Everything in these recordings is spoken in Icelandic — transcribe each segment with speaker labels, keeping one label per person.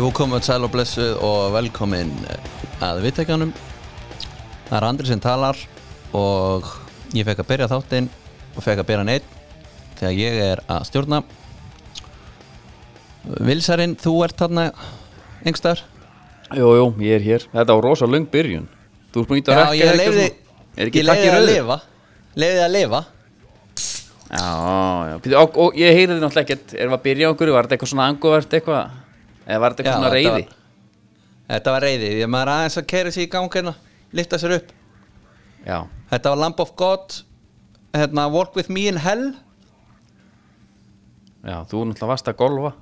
Speaker 1: Jú, komum sæl og blessuð og velkomin að viðtækjanum. Það er Andri sem talar og ég fekk að byrja þáttinn og fekk að byrja hann einn þegar ég er að stjórna. Vilsarinn, þú ert þarna yngstar.
Speaker 2: Jú, jú, ég er hér Þetta var rosa löng byrjun Þú ert búin að rekka
Speaker 1: ég
Speaker 2: þig
Speaker 1: leiði,
Speaker 2: eitthvað svona. Er ekki
Speaker 1: ég
Speaker 2: takk
Speaker 1: leiði
Speaker 2: í
Speaker 1: að
Speaker 2: rauðu?
Speaker 1: lifa. Leiði að lifa.
Speaker 2: Já, já Býtu, og, og ég heyri þið náttúrulega ekkert Erum við að byrja á okkur? Var þetta eitthvað svona anguvert eitthvað? Eða var þetta
Speaker 1: Já,
Speaker 2: eitthvað svona
Speaker 1: þetta
Speaker 2: reyði?
Speaker 1: var- Þetta var reyði. Ég maður aðeins að kæra sér í gangina, lifta sér upp.
Speaker 2: Já
Speaker 1: Þetta var Lamb of God, hérna, Walk With Me in Hell.
Speaker 2: Já, þú náttúrulega varst að golfa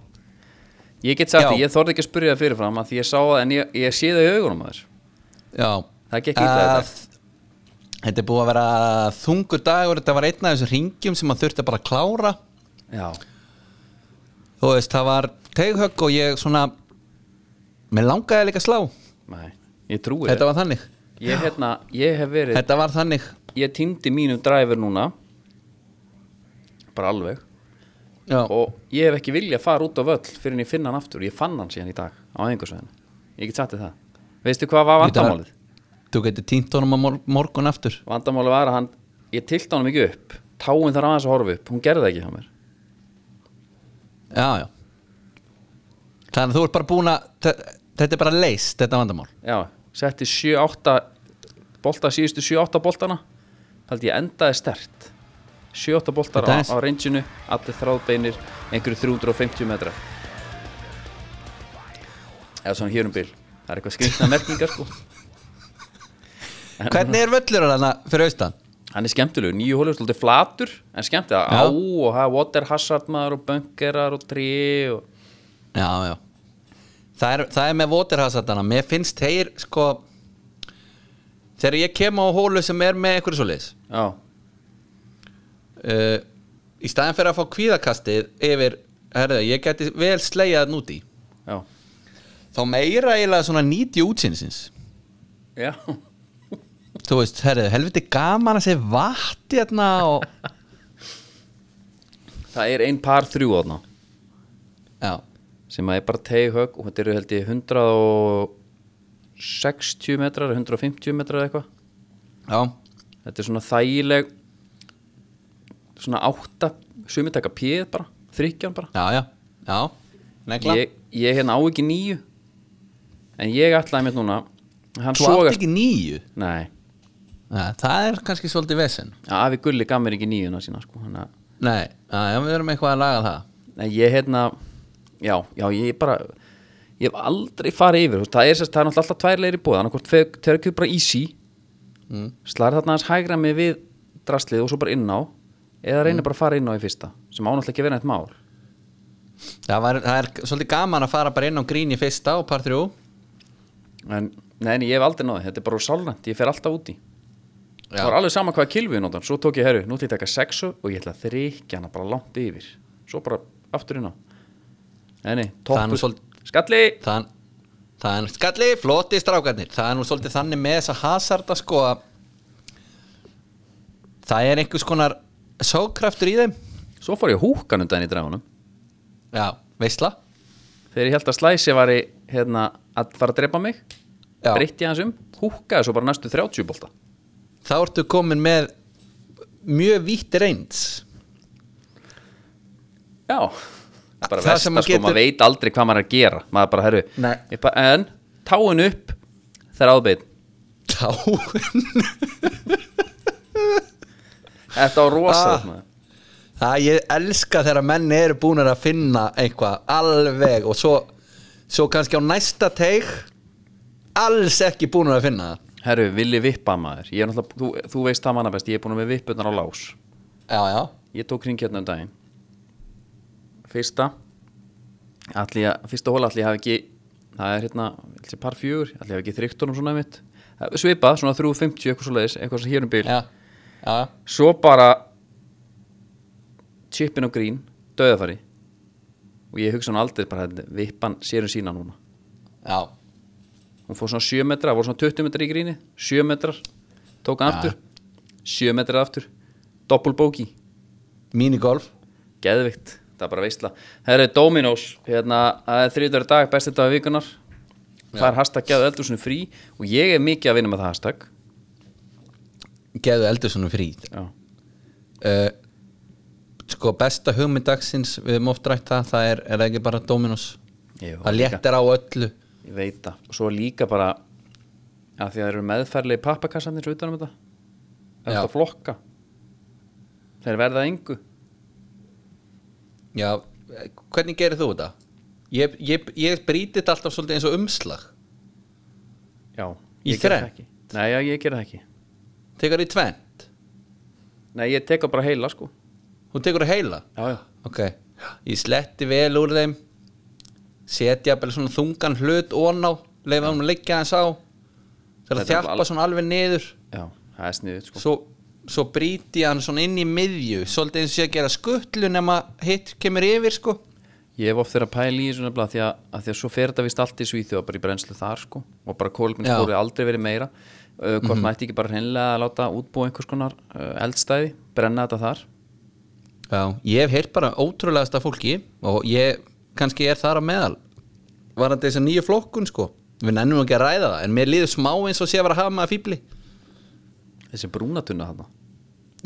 Speaker 2: Ég get sagt
Speaker 1: Já.
Speaker 2: því, ég þorði ekki að spyrja það fyrirfram að Því ég sá það en ég, ég sé það í augunum að þér
Speaker 1: Já
Speaker 2: Það gekk illa í dag.
Speaker 1: Þetta er búið að vera þungur dagur Þetta var einn af þessum ringjum sem maður þurfti bara að klára
Speaker 2: Já,
Speaker 1: Þú veist, það var teighögg og ég svona Mér langaði líka að slá
Speaker 2: nei, ég trúi
Speaker 1: Þetta var þannig
Speaker 2: þér Ég, hérna, ég hef verið
Speaker 1: Þetta var þannig
Speaker 2: Ég týndi mínu driver núna Bara alveg
Speaker 1: Já,
Speaker 2: og ég hef ekki vilja að fara út á völl fyrir en ég finna hann aftur, ég fann hann síðan í dag á æfingarsvæðinu, ég get sagt þér það veistu hvað var
Speaker 1: Í dag-
Speaker 2: vandamálið?
Speaker 1: Þú getur týnt honum á mor- morgun aftur
Speaker 2: vandamálið var að hann, ég tilti hann mikið upp táin þar aðeins að horfa upp, hún gerði það ekki hjá mér
Speaker 1: Já, já Þannig að þú ert bara búin að þe- Þetta er bara leist, þetta vandamál
Speaker 2: já, setti 7-8 bolta, síðustu 7-8 boltana held ég endaði stert 7-8 boltar
Speaker 1: Þetta
Speaker 2: á,
Speaker 1: er-
Speaker 2: á reynsinu allir þráðbeinir, einhverju 350 metra eða svona hér um bil það er eitthvað skrýtna merkingar sko
Speaker 1: Hvernig er völlur hana fyrir austan?
Speaker 2: hann er skemmtilegur, nýju hólur, svolítið flatur en skemmtilega,
Speaker 1: Já.
Speaker 2: á og það er water hazard maður og bunkerar og tré og...
Speaker 1: Já, já Það er, það er með votirhasatana Mér finnst þeir sko Þegar ég kem á hólu sem er með einhverju svoleiðis
Speaker 2: já,
Speaker 1: uh, Í staðin fyrir að fá kvíðakastið yfir herðu, Ég geti vel slegjað nút í
Speaker 2: já,
Speaker 1: Þá meira eiginlega svona nýti útsinsins
Speaker 2: já
Speaker 1: Þú veist, herðu, helviti gaman að segja vatn hérna og
Speaker 2: það er ein par þrjú þarna
Speaker 1: Já,
Speaker 2: sem er bara teghög og þetta eru held ég 160 metrar 150 metrar eða eitthvað
Speaker 1: já,
Speaker 2: þetta er svona þægileg svona átta sumið taka píð bara, þryggjan bara
Speaker 1: já, já, já. Negla,
Speaker 2: ég, ég hérna á ekki nýju en ég ætlaði mér núna hann
Speaker 1: þú átt
Speaker 2: sogast
Speaker 1: ekki nýju
Speaker 2: nei
Speaker 1: Nei, Það er kannski svolítið vesen
Speaker 2: Já, Afi Gulli gaf mér ekki nýjuna sína sko, hann að
Speaker 1: Nei, já, já, við erum eitthvað að laga það
Speaker 2: Nei, ég hérna Já, já, ég bara Ég hef aldrei farið yfir, þú veist, það er sérst, það er náttúrulega alltaf tvær leir í búið, þannig að hvort þegar ekki bara easy mm. slar þarna aðeins hægra mig við draslið og svo bara inn á eða reynir bara að fara inn á í fyrsta sem ánáttúrulega ekki að vera neitt mál
Speaker 1: Það, var, það er svolítið gaman að fara bara inn á grín í fyrsta og par 3
Speaker 2: en nei, nei, ég hef aldrei náði, þetta er bara sálnænt, ég fer alltaf úti það var alveg sama hvaða kilvið notan, svo tók ég herru, nú ætla ég að taka sexu og ég ætla að þrykja hana bara langt yfir svo bara aftur inn á nei, nei,
Speaker 1: Það er nú
Speaker 2: toppur,
Speaker 1: svol-
Speaker 2: skalli
Speaker 1: það, það er skalli, flotti strákarnir Það er nú svolítið þannig með þessa hasarda sko að Það er einhvers konar sókraftur í þeim
Speaker 2: Svo fór ég húkan undan í dragunum
Speaker 1: Já, veistla
Speaker 2: Þegar ég held að slæsi var ég hérna, að fara að drepa mig
Speaker 1: Já.
Speaker 2: Breytti ég hans um, húkaði svo bara næstu 30 bolta
Speaker 1: Þá ertu komin með mjög vítt reynd
Speaker 2: Já,
Speaker 1: Það
Speaker 2: bara versta sko,
Speaker 1: sem maður getur-
Speaker 2: maður veit aldrei hvað maður er að gera Maður bara, herru,
Speaker 1: Nei.
Speaker 2: ég bara, en táin upp Þegar áðbeitt
Speaker 1: Táin
Speaker 2: Þetta var rosa
Speaker 1: Ah. Það ég elska þegar menn eru búinir að finna eitthvað alveg og svo, svo kannski á næsta teig alls ekki búinir að finna það
Speaker 2: Herru, villi vippa maður Ég er náttúrulega, þú, þú veist það manna best, ég er búin með vippunar á lás
Speaker 1: Já, já,
Speaker 2: Ég tók hring hérna um daginn Fyrsta Alli að, fyrsta hóla allir hafi ekki Það er hérna, allir par fjögur Allir hafi ekki þryktunum svona mitt Svipað, svona 350 eitthvað svo leiðis Eitthvað sem hér um bil
Speaker 1: já, já,
Speaker 2: Svo bara Chipin og grín, döðafari Og ég hugsa hann aldrei bara þetta, Vippan sér um sína núna
Speaker 1: já.
Speaker 2: Hún fór svona 7 metra, það voru svona 20 metra í gríni 7 metrar, tók hann
Speaker 1: Já.
Speaker 2: aftur 7 metrar aftur Doppelbóki,
Speaker 1: Minigolf
Speaker 2: geðvikt það er bara veistla það eru Dominos, hérna það er þriðdagur í dag, besti dag vikunar það er hashtag gæðu eldursunum frí og ég er mikið að vinna með það hashtag
Speaker 1: geðu eldur svona frí
Speaker 2: já,
Speaker 1: uh, sko besta hugmynd dagsins við höfum oft rætt það, það er, er það ekki bara Dominos
Speaker 2: Jú,
Speaker 1: það léttir á öllu
Speaker 2: ég veit það og svo líka bara að því að það eru meðferðlega pappakassanir svo utanum þetta það er
Speaker 1: Já.
Speaker 2: þetta flokka þeir verða að engu
Speaker 1: já, eh, hvernig gerir þú þetta? ég, ég, ég brýti þetta alltaf svolítið eins og umslag
Speaker 2: já,
Speaker 1: Í
Speaker 2: ég geri það
Speaker 1: þrennt?
Speaker 2: ekki. nei, já, ég gera það ekki
Speaker 1: tekur í tvent,
Speaker 2: nei, ég teka bara heila sko
Speaker 1: hún tekur í heila
Speaker 2: já, já
Speaker 1: ok, ég sletti vel úr þeim setja bara svona þungan hlut ón á, leifa hún að liggja hans á þegar
Speaker 2: Þetta er
Speaker 1: þjálpa svona alveg niður
Speaker 2: Já, það er sniðið sko
Speaker 1: svo, svo bríti hann svona inn í miðju svolítið eins og sé að gera skuttlu nema hitt kemur yfir sko
Speaker 2: Ég hef oft verið að pæla í þessu nefnilega því að, að því að svo fer þetta vist allt í Svíþjóð bara í brennslu þar sko og bara kóluminn
Speaker 1: Já.
Speaker 2: skórið aldrei verið meira uh, hvort maður ætti ekki bara hreinlega að láta útbúa einhvers konar uh, eldstæði brenna þetta þar
Speaker 1: Já, ég hef heyrt bara ótrúlegasta fólki og ég kannski er þar á meðal varandi þess að nýju flokkun sko við nennum ekki að ræða það en mér líður smá eins og sé að vera að hafa maður fýbli
Speaker 2: þessi brúnatunna þarna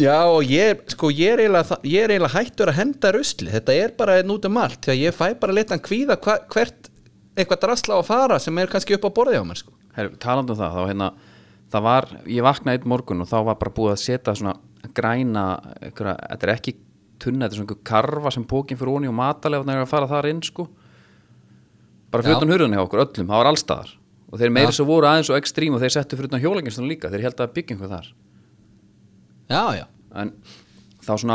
Speaker 1: Já og ég, sko, ég er eiginlega, þa- ég er eiginlega hættur að henda rusli þetta er bara einn út um allt því að ég fæ bara litan kvíða hva, hvert eitthvað drasla á að fara sem er kannski upp á borðið á mér sko
Speaker 2: Her, talandi um það, þá hérna það var, ég vaknaði einn morgun og þá var bara búið að setja svona græna einhverja, þetta er ekki tunna, þetta er svona einhver karfa sem pókin fyrir onni og matalega þannig að fara þar inn sko bara fyrir
Speaker 1: Já.
Speaker 2: utan hurðunni hjá okkur öllum, það var allstaðar og þeir meiri
Speaker 1: Já.
Speaker 2: svo voru aðeins og ekstrím og þeir settu fyrir utan hjólenginstunum líka, þeir held að byggja einhver þar
Speaker 1: Já, já,
Speaker 2: en þá svona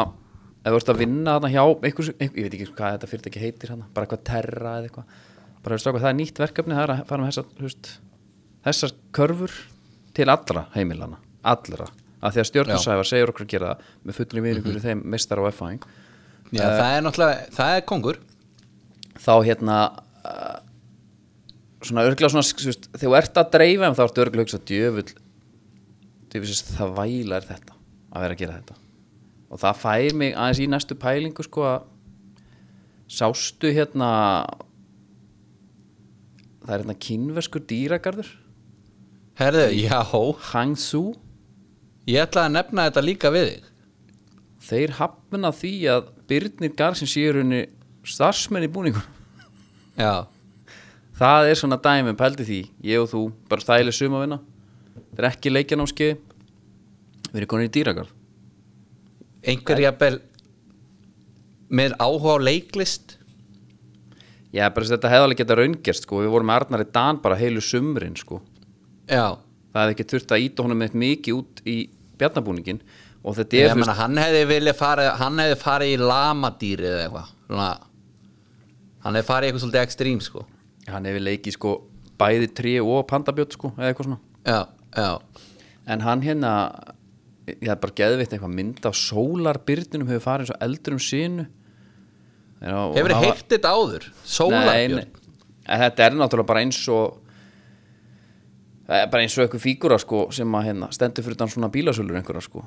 Speaker 2: ef þú ert að vinna þarna hjá einhvers, einhver, ég veit ekki hvað þetta fyrirtæki heitir hana, bara eitthvað terra eða eitthvað bara veist okkur, það er nýtt verkefni það er að fara með þessar, húst, þessar körfur til allra heimilana allra, af því að stjórnarsæfar segir okkur að gera það með fullri viðringur mm þeim mistar á erfæðing
Speaker 1: já það er náttúrulega, það er kongur
Speaker 2: þá hérna uh, svona örgla svona þú veist, þegar þú ert að dreifa en þá ertu örgla að hugsa djöfull djöfull það væla er þetta að vera að gera þetta og það fær mig aðeins í næstu pælingu sko að sástu hérna það er hérna kínverskur dýragarður
Speaker 1: Herðu, já,
Speaker 2: Hangzhou
Speaker 1: Ég ætlaði að nefna þetta líka við þig
Speaker 2: þeir hafna því að Byrnir Garðsins séu í rauninni starfsmenn í búningunum
Speaker 1: Já,
Speaker 2: Það er svona dæmi, um pældi því Ég og þú, bara stæli sumavinna Það er ekki leikjanámski Við erum konir í dýragarð
Speaker 1: einhver jafnvel með áhuga á leiklist
Speaker 2: Já, bara þess að þetta hefðalega geta raungerst sko. Við vorum með Arnar í Dan bara heilu sumrin sko.
Speaker 1: Já,
Speaker 2: Það hefði ekki þurft að íta honum eitt mikið út í bjarnabúningin Og þetta
Speaker 1: ég
Speaker 2: er, þú veist,
Speaker 1: meina hann hefði vilja farið hann hefði farið í lamadýri eða eitthvað Svona, hann hefði farið í eitthvað svolítið ekstrím sko
Speaker 2: hann hefur leikið sko, bæði trí og pandabjót sko, eða eitthvað svona
Speaker 1: Já, já,
Speaker 2: En hann hérna ég hef bara geðveitt eitthvað mynd af sólarbyrnunum hefur farið eins og eldur um sínu
Speaker 1: hefur þið heyrt þetta áður
Speaker 2: Nei,
Speaker 1: Sólarbjörn
Speaker 2: nei. En þetta er náttúrulega bara eins og það er bara eins og eitthvað fígura sko, sem að hérna, stendur fyrir þann svona bílasölur einhverja sko.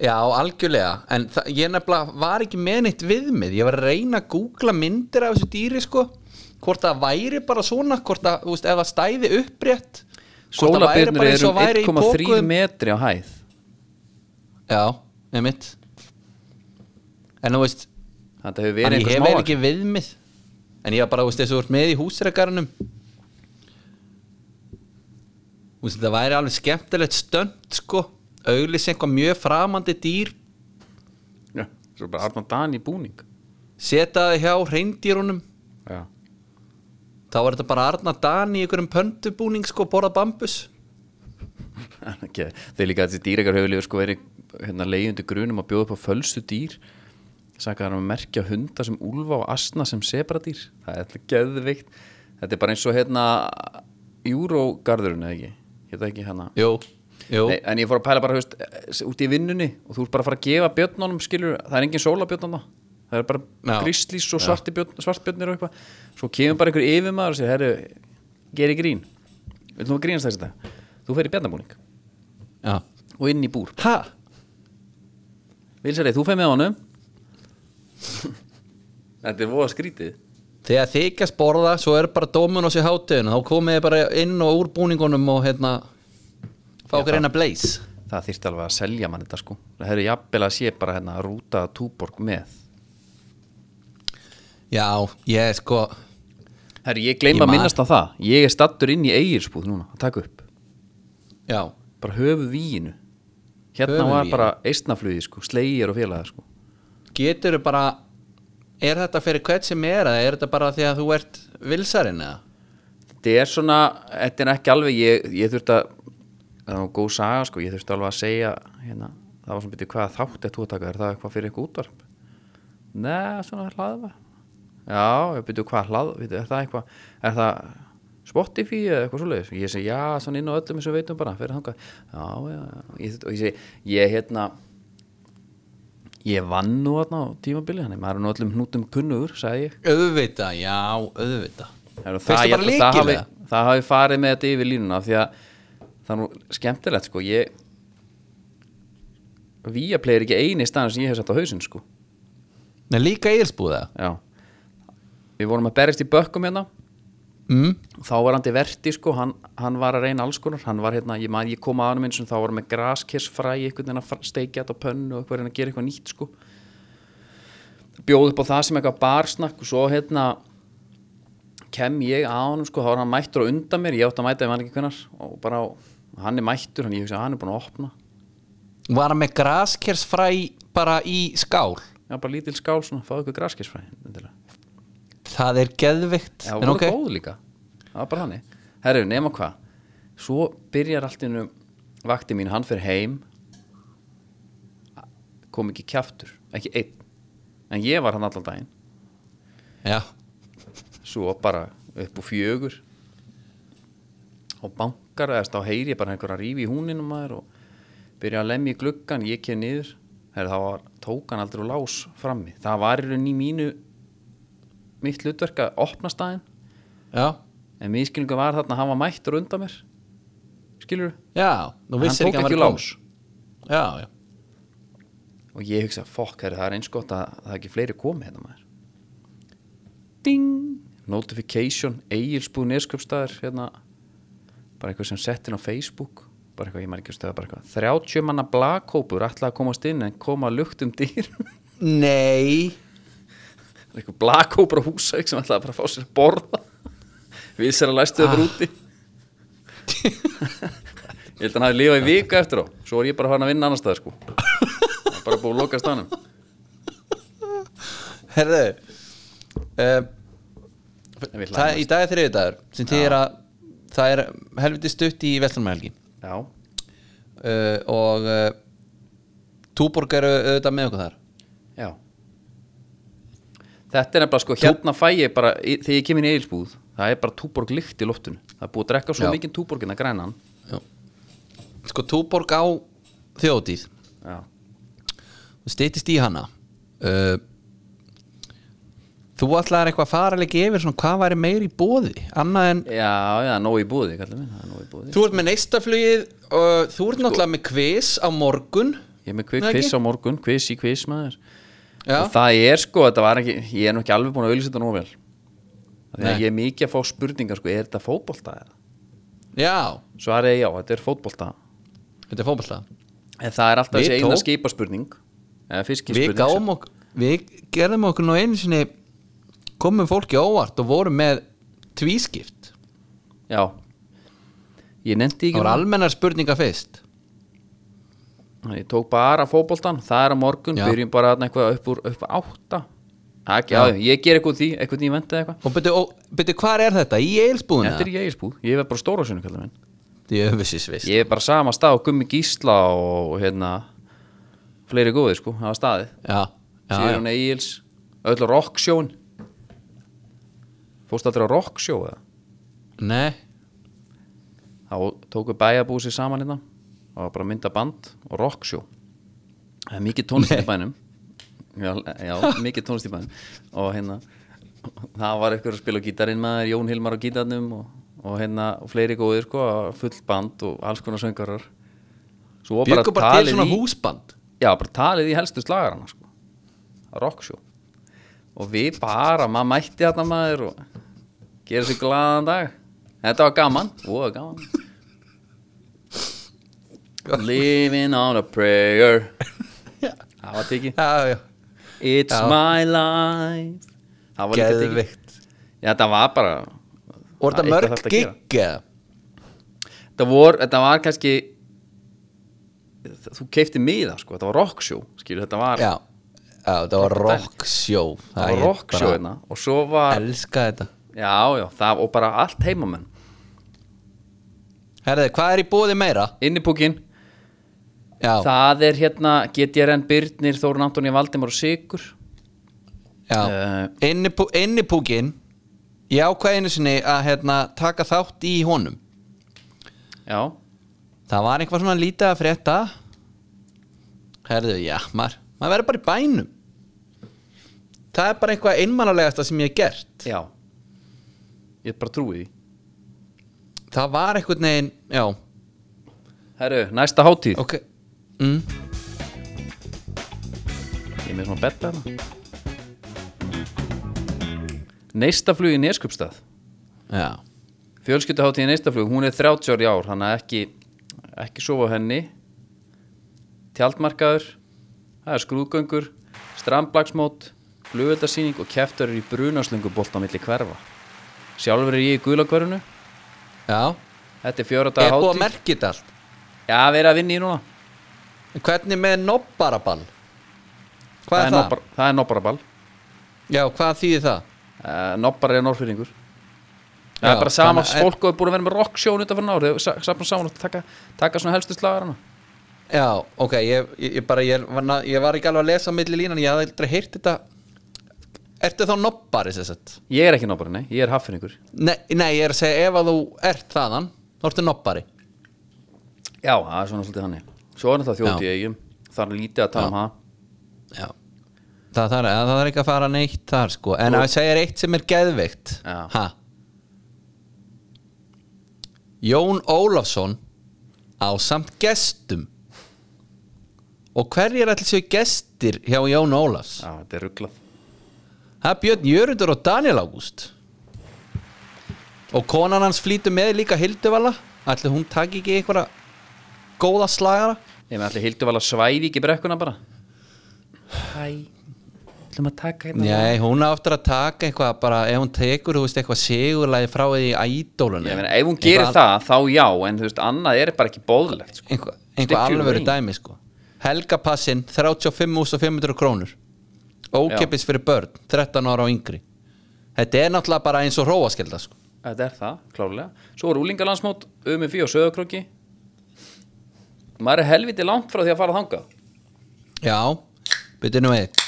Speaker 1: Já, algjörlega, en það- ég nefnilega var ekki með neitt viðmið, ég var að reyna að googla myndir af þessu dýri sko hvort það væri bara svona, hvort það, þú veist, ef það stæði upprétt hvort það væri
Speaker 2: Sólabirnur
Speaker 1: bara eins og
Speaker 2: eru um
Speaker 1: væri í
Speaker 2: 1,3
Speaker 1: pókuðum.
Speaker 2: metri á hæð
Speaker 1: Já, með mitt En þú veist
Speaker 2: Þetta hefur
Speaker 1: En
Speaker 2: verið
Speaker 1: ég
Speaker 2: einhver
Speaker 1: hef
Speaker 2: smá
Speaker 1: vel ekki viðmið En ég var bara, þú veist, þess að þú ert með í húsregarnum Þú veist, það væri alveg skemmtilegt stönd, sko Auglýs einhvað mjög framandi dýr
Speaker 2: Já, Svo bara Arna Dan í búning
Speaker 1: Seta það hjá reyndýrunum
Speaker 2: Já.
Speaker 1: Þá var þetta bara Arna Dan í einhverjum pöndubúning, sko, borða bambus
Speaker 2: okay. Þeir líka að þessi dýrakar hefur líka sko verið hérna, leiðundi grunum að bjóða upp á fölstu dýr Sakaðar um að merkja hunda sem úlfa og asna sem sebradýr Það er alltaf geðveikt Þetta er bara eins og hérna Júrógarðurinn eða ekki Hérna ekki hérna
Speaker 1: Jú, jú
Speaker 2: Nei, en ég fór að pæla bara, þú veist, út í vinnunni og þú ert bara að fara að gefa björnunum, skilur það er engin sólabjörn annað, það er bara
Speaker 1: Já.
Speaker 2: grislís og svartbjörn, svartbjörnir og eitthvað svo kemur bara einhver yfirmaður og segir, herru, geri grín vil þú að grínast þess þetta, þú fer í björnabúning
Speaker 1: Já
Speaker 2: og inn í búr,
Speaker 1: Ha?
Speaker 2: vil sér þú fer með honum Þetta er voða skrítið
Speaker 1: Þegar þykjast borða, svo er bara Dominos í hátíðinu, þá komið þið bara inn og úr búningunum og hérna fá okkur eina blaze
Speaker 2: Það þýrst alveg að selja mann þetta sko Það hefur jafnvel að sé bara hérna rúta túborg með
Speaker 1: Já, ég sko
Speaker 2: Herri, ég gleyma
Speaker 1: Ég
Speaker 2: að
Speaker 1: man-
Speaker 2: minnast á það Ég er stattur inn í eigirsbúð núna að taka upp
Speaker 1: Já,
Speaker 2: Bara höfu víinu Hérna
Speaker 1: Höfuð
Speaker 2: var
Speaker 1: víginu.
Speaker 2: bara eistnaflugi sko Slegir og félaga sko
Speaker 1: getur þið bara er þetta fyrir hvert sem er eða er þetta bara því að þú ert vilsarinn eða?
Speaker 2: Þetta er svona, þetta er ekki alveg ég, ég þurfti að, það var góð saga sko, ég þurfti alveg að segja hérna, það var svona byrju hvað þátt þetta að taka er það eitthvað fyrir eitthvað útvarp? Nei, svona hlaðva Já, ég byrju hvað hlað, byrju, er það eitthvað er það Spotify eða eitthvað svoleiðis? Ég segi, já, svona inn á öllum sem við veitum bara, fyrir þangað Já, já, já, ég, þurfti- og ég segi, ég hérna ég vann nú þarna á tímabili, þannig maður er nú öllum hnútum kunnugur, sagði ég
Speaker 1: Auðvita, já, auðvita
Speaker 2: Heru,
Speaker 1: Finnst
Speaker 2: það,
Speaker 1: þið
Speaker 2: ég,
Speaker 1: bara
Speaker 2: held að það,
Speaker 1: líkilega?
Speaker 2: hafi, það hafi farið með þetta yfir línuna af því að það er nú skemmtilegt sko ég Viaplay er ekki eini staðan sem ég hef sett á hausinn sko
Speaker 1: Nei, líka írsbúða
Speaker 2: já við vorum að berjast í bökkum hérna
Speaker 1: mm?
Speaker 2: þá var hann til verti sko hann, hann var að reyna alls konar hann var hérna, ég, man, ég kom að hann eins og þá var hann með graskissfræ einhvern veginn að fr- steikja þetta á pönnu og eitthvað reyna að gera eitthvað nýtt sko bjóð upp á það sem eitthvað barsnakk og svo hérna kem ég að honum sko, þá var hann mættur og undan mér, ég átti að mæta ég man ekki hvernar og bara, á- hann er mættur, hann ég hugsa hann er búin að opna,
Speaker 1: Var hann með graskersfræ bara í skál
Speaker 2: já bara lítil skál svona, fáðu eitthvað graskissfræ endilega.
Speaker 1: Það er geðvikt
Speaker 2: Já,
Speaker 1: En
Speaker 2: voru
Speaker 1: ok,
Speaker 2: góð líka Það var bara hannig Herru, nema hvað Svo byrjar allt innu Vakti mín, hann fer heim Kom ekki kjaftur Ekki einn En ég var hann allan daginn
Speaker 1: já,
Speaker 2: Svo bara upp úr fjögur Og bankar eða þá heyri ég bara einhverja rífi í húninu maður Og byrja að lemja í gluggan Ég kem niður Herru, þá var, tók hann aldrei úr lás frammi Það var í rauninni í mínu Mitt hlutverk að opna staðinn
Speaker 1: já,
Speaker 2: En miskilningu var þarna að hann var mættur undan mér Skilur
Speaker 1: já Nú
Speaker 2: Hann
Speaker 1: vissir
Speaker 2: tók
Speaker 1: ekki að hann
Speaker 2: ekki
Speaker 1: væri kom
Speaker 2: lás
Speaker 1: Já, já,
Speaker 2: Og ég hugsa, fokk, herri, það er eins gott að það er ekki fleiri komið hérna maður Ding Notification, eigilsbúð nesköpstaðir Hérna Bara eitthvað sem sett inn á Facebook Bara eitthvað, ég maður ekki að stöða bara eitthvað 30 manna blakkópur ætlaði að komast inn en koma lukt um dýr
Speaker 1: nei
Speaker 2: Eitthvað blakkópur á húsæk sem ætlaði bara að fá sér að borða Við sér að læstu það ah. úti Ég held að hann hafi lifað í viku eftir á Svo er ég bara farin að vinna annar staðar sko Það er Bara búið að loka staðnum
Speaker 1: Herðu um,
Speaker 2: En við
Speaker 1: það,
Speaker 2: hlæðum
Speaker 1: Í dag er þriði dagur sem þýðir að það er helviti stutt í Vestlumælgi
Speaker 2: Já,
Speaker 1: uh, og uh, Túborg eru auðvitað með okkur þar
Speaker 2: já Þetta er nefnilega sko Hérna fæ ég bara, í- þegar ég kem inn í Egilsbúð Það er bara túborg lykt í loftinu Það er búið að drekka svo hérna,
Speaker 1: Já.
Speaker 2: mikið túborgin að græna hann
Speaker 1: Já. sko Túborg á þjóðtíð
Speaker 2: Já,
Speaker 1: og styttist í hana uh, þú ætlaðar eitthvað faralegi yfir svona, hvað væri meiri í bóði annað en
Speaker 2: já, já, nóg í búði kallar minn, það er nóg í búði
Speaker 1: þú ert með neistaflugið og þú ert náttúrulega með kvis á morgun
Speaker 2: Ég er með kvik,
Speaker 1: Nei, ekki?
Speaker 2: kviss á morgun, kviss í kviss maður
Speaker 1: Já.
Speaker 2: Og það er sko, þetta var ekki Ég er nú ekki alveg búin að auðlýsa þetta nóg vel Þegar
Speaker 1: Nei.
Speaker 2: ég er mikið að fá spurningar sko, Er þetta fótbolta eða?
Speaker 1: já,
Speaker 2: Svarið er já, þetta er fótbolta
Speaker 1: þetta er fótballta
Speaker 2: En það er alltaf
Speaker 1: Við
Speaker 2: þessi eina
Speaker 1: tók-
Speaker 2: skipaspurning Eða
Speaker 1: við
Speaker 2: fiskispurning
Speaker 1: gáum okkur við gerðum okkur nú einu sinni komum fólki á óvart og vorum með tvískipt
Speaker 2: Já Ég
Speaker 1: það
Speaker 2: nefndi ekki
Speaker 1: voru
Speaker 2: al...
Speaker 1: almennar spurningar fyrst
Speaker 2: Ég tók bara fótboltan, það er á morgun
Speaker 1: Já.
Speaker 2: Byrjum bara þarna eitthvað upp úr upp á átta Það er ekki, já. ég ger eitthvað úr því Eitthvað því vendið eitthvað
Speaker 1: og byrju, og byrju hvað er þetta? í eilsbúðina?
Speaker 2: Þetta er ég spúð, ég verð bara stóra sinu kallar minn
Speaker 1: Þetta er öfisisvist
Speaker 2: Ég er bara sama stað og Gummi Gísla og hérna fleiri góði sko, það var staðið
Speaker 1: já, já, já.
Speaker 2: Sigurinn Egil's, öll á Rocksjón Fórstu aldrei á Rocksjó eða?
Speaker 1: Nei,
Speaker 2: Þá tóku bæjarbúið sér saman hérna og var bara að mynda band og Rocksjó Það er mikið tónlist í bænum Já, já mikið tónlist í bænum og hérna það var eitthvað að spila á gítarinn maður Jón Hilmar á gítarnum og, og hérna og fleiri góðir sko, fullt band og alls konar söngarar Svo var
Speaker 1: byggur bara til
Speaker 2: talið
Speaker 1: svona
Speaker 2: í-
Speaker 1: húsband
Speaker 2: Já, bara talið í helstu slagarana sko. Rockshow og við bara, maður mætti þarna maður og gera sér glaðan dag þetta var gaman, voða gaman living on a prayer það var tekið
Speaker 1: já, já,
Speaker 2: it's
Speaker 1: Já.
Speaker 2: my life það var líka tekið
Speaker 1: geðvikt
Speaker 2: já, það var bara
Speaker 1: og er þetta
Speaker 2: Það er eitthvað
Speaker 1: mörg
Speaker 2: þarft að gera.
Speaker 1: gig eða?
Speaker 2: það vor, þetta var kannski þú keifti miða sko, þetta var rockshow skilur, þetta var,
Speaker 1: já, já, þetta var rocksjó
Speaker 2: það var rockshow hérna og svo var,
Speaker 1: elska þetta
Speaker 2: já, já, það og bara allt heimamenn
Speaker 1: herðu, hvað er í búði meira?
Speaker 2: innipúkin,
Speaker 1: já,
Speaker 2: það er hérna GTRN Byrnir, Þórun Antoni Valdimar og Sigur
Speaker 1: já,
Speaker 2: uh,
Speaker 1: innipú, innipúkin ég ákvað einu sinni að hérna, taka þátt í honum
Speaker 2: já,
Speaker 1: það var einhvað svona lítið að frétta herðu, já, maður maður verður bara í bænum það er bara einhvað einmannalegasta sem ég hef gert
Speaker 2: já ég bara trúi því
Speaker 1: það var einhvern veginn, já,
Speaker 2: herru, næsta hátíð
Speaker 1: ok mm.
Speaker 2: ég er með svona betta hérna neistaflug í Neskjöpstað
Speaker 1: já,
Speaker 2: fjölskylduhátíð í neistaflug, hún er 30 ári ár hann er ekki, ekki sofa á henni tjaldmarkaður það er skrúðgöngur strandblagsmót, flugöldarsýning og keftar eru í brunaslöngubolt á milli hverfa sjálfur er ég í gulakverfinu
Speaker 1: já
Speaker 2: þetta er fjóra
Speaker 1: er
Speaker 2: daga
Speaker 1: búið að
Speaker 2: hátíð
Speaker 1: merkja þetta allt
Speaker 2: já, við erum að vinna í núna
Speaker 1: En hvernig með nobbarabann hvað er það?
Speaker 2: nobbar, það er nobbaraball
Speaker 1: já, hvað þýðir það?
Speaker 2: uh, nobbar er norfyrringur það
Speaker 1: Já,
Speaker 2: er bara sama
Speaker 1: þannig að-
Speaker 2: fólk og er búin að vera með rocksjón utanfyrir nári, saman saman og taka, taka svona helstu slagarana
Speaker 1: já, ok, ég, ég, ég bara ég, var na- ég var ekki alveg að lesa á milli línan ég hafði aldrei heyrt þetta ertu þá nobbari sér sett?
Speaker 2: ég er ekki nobbari, nei, ég er haffyrringur
Speaker 1: Nei, nei, ég er að segja ef að þú ert þaðan þá ertu nobbari
Speaker 2: já, það er svona svolítið þannig svo er þetta þjóti
Speaker 1: Já.
Speaker 2: eigum, það er lítið að tala um það
Speaker 1: já það þarf, það þarf ekki að fara neitt þar sko en að segja eitt sem er geðveikt
Speaker 2: Já.
Speaker 1: ha Jón Ólafsson á samt gestum og hverjir ætli séu gestir hjá Jón Ólafs
Speaker 2: já, þetta er rugglað
Speaker 1: það er Björn Jörundur og Daniel Ágúst og konan hans flýtur með líka Hilduvala ætli hún taki ekki einhverja góða slagara
Speaker 2: ég með allir hildu vala svæði ekki brekkuna bara hæ ætlum að taka hérna
Speaker 1: Nei, hún áttur að taka eitthvað bara ef hún tekur, þú veist, eitthvað sigurlæði frá því í ædólunni
Speaker 2: ég meina, ef hún gerir það, þá já en þú veist, annað er bara ekki bóðlegt sko.
Speaker 1: Einhvað, einhvað
Speaker 2: Stick you
Speaker 1: alvöru
Speaker 2: ring.
Speaker 1: dæmi, sko Helgapassin, 35.500 krónur Ókepis fyrir börn, 13 ára og yngri Þetta er náttúrulega bara eins og róaskelda, sko
Speaker 2: þetta er það, klálega svo er úlingalansmót, UMFI og söðakróki maður er helviti langt frá því að fara þangað
Speaker 1: Já, byrju nú við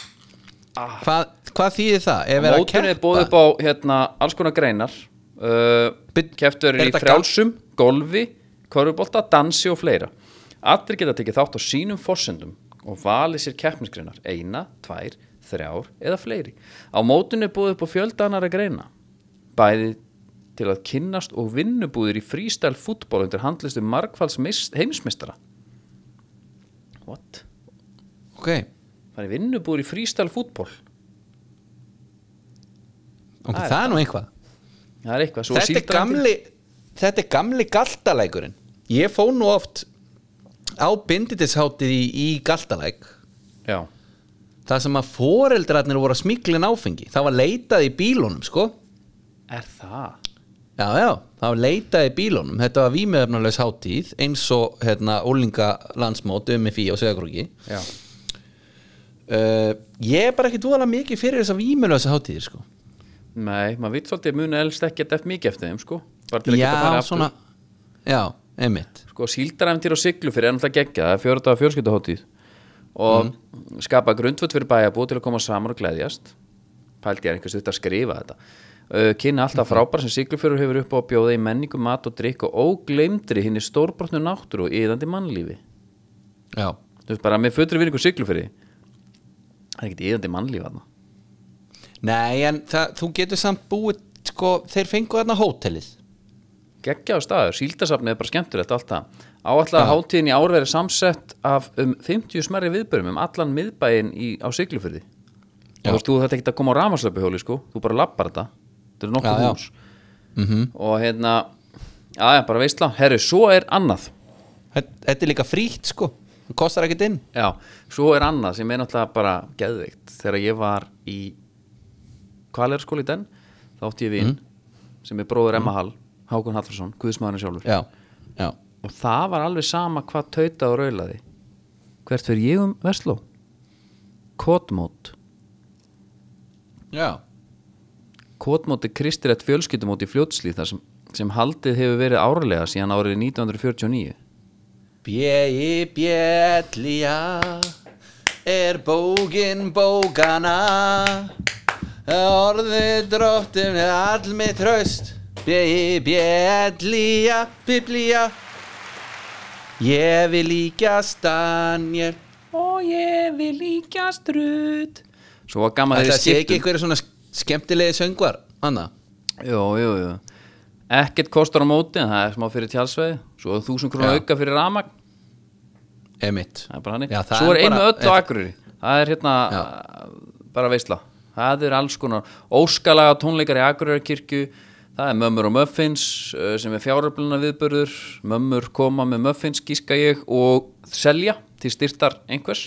Speaker 2: Ah.
Speaker 1: Hvað, hvað þýðir það? Ef er að
Speaker 2: mótunni er bóð upp
Speaker 1: keppa
Speaker 2: á hérna, alls konar greinar uh,
Speaker 1: Bit-
Speaker 2: keftur
Speaker 1: er
Speaker 2: í
Speaker 1: þetta
Speaker 2: frjálsum, golfi korfubolta, dansi og fleira allir geta tekið þátt á sínum forsendum og valið sér keppnisgreinar eina, tvær, þrjár eða fleiri á mótunni er bóð upp á fjöldanara greina bæði til að kynnast og vinnubúðir í freestyle fútból undir handlistu margfalds mis- heimsmeistara what?
Speaker 1: Ok,
Speaker 2: það er vinnubúðir í freestyle fútból
Speaker 1: ok,
Speaker 2: Það er
Speaker 1: það er nú einhvað
Speaker 2: það er eitthvað svo
Speaker 1: þetta er
Speaker 2: síldarævintýri.
Speaker 1: gamli þetta er gamli galtalækurinn ég fó nú oft á binditisháttið í, í galtalæk
Speaker 2: já
Speaker 1: það sem að foreldrarnir voru að smiklin áfengi það var leitað í bílunum sko
Speaker 2: Er það?
Speaker 1: já já, það var leitað í bílunum þetta var vímöfnulegs hátíð eins og hérna ólinga landsmót um FÍ og Söðakrúki
Speaker 2: Já.
Speaker 1: uh, ég er bara ekki dvoðalega mikið fyrir þessa vímöfnulegsa hátíðir sko
Speaker 2: Nei, maður veit svolítið að muna elst ekkert eftir mikið eftir þeim, sko. Bara til að geta
Speaker 1: já
Speaker 2: farið
Speaker 1: svona
Speaker 2: aftur.
Speaker 1: já, einmitt
Speaker 2: Sko, síldaræfntýr og siglu fyrir ennum það geggja, það er fjörða fjölskylduhóttíð. Og
Speaker 1: Mhm.
Speaker 2: skapa grundvöld fyrir bæjabú til að koma saman og gleðjast. Pældi ég er einhvers þetta að skrifa þetta. Uh, kynna alltaf frábæra sem siglufjörur hefur upp á að bjóða í menningu, mat og drikk og ógleymdri hinn í stórbrotnu náttúru og yðandi mannlífi.
Speaker 1: já
Speaker 2: Þú veist bara, með fötri vinningu siglufjöri, það er ekkert yðandi mannlífi þarna.
Speaker 1: Nei, en það, þú getur samt búið sko, þeir fengu þarna hótelið
Speaker 2: geggjaðu staður, síldasafnið er bara skemmtilegt allt það. Áallega hátíðin í ár verið samsett af um 50 smerri viðbörum um allan miðbæin í, á Siglufyrði. og þú veist, þú þetta ekki að koma á rafmagnslöpuhjóli sko, þú bara lappar þetta þetta eru nokkuð
Speaker 1: Já, Mhm. já.
Speaker 2: hús -hmm. og hérna, aðja, bara veistla herru, svo er annað
Speaker 1: Þetta þetta er líka frítt sko Það kostar ekkert inn
Speaker 2: Já, svo er annað sem er náttúrulega bara geðveikt þegar ég var í kvalerskóli í den þá átti
Speaker 1: Mhm.
Speaker 2: ég vin sem er bróður Emma Hall, Hákon Hallfarsson Guðsmaðurinn sjálfur
Speaker 1: Já, já
Speaker 2: og það var alveg sama hvað tauta og raulaði hvert fyrir ég um Vestló Kotmót
Speaker 1: Já,
Speaker 2: Kotmót er kristilegt fjölskyldumót í fljótslíð þar sem, sem haldið hefur verið árlega síðan árið 1949
Speaker 1: Bjegi bjellja er bógin bókana Orðið dróttum er all mitt traust Bjegi bjellja, biblía Ég vil líkjast Daniel
Speaker 2: og ég vil líka strutt Svo var gaman
Speaker 1: Þetta
Speaker 2: þegar
Speaker 1: sé
Speaker 2: við
Speaker 1: ekki einhverja svona skemmtilegi söngvar Anna
Speaker 2: Jú, jú, jú Ekkert kostar á móti, en það er smá fyrir tjálsvegi Svo er þúsund krónu
Speaker 1: Já.
Speaker 2: auka fyrir ramagn
Speaker 1: Emitt
Speaker 2: Það er bara hannig
Speaker 1: Já, það
Speaker 2: Svo
Speaker 1: er
Speaker 2: er einu
Speaker 1: bara-
Speaker 2: öllu akurri Það er hérna bara veisla Það er alls konar óskalaga tónleikar í Akureyrkirkju Það er Mömmur og Muffins eh, sem er fjáröfluna viðbörður Mömmur koma með Muffins, gíska ég og selja til styrtar einhvers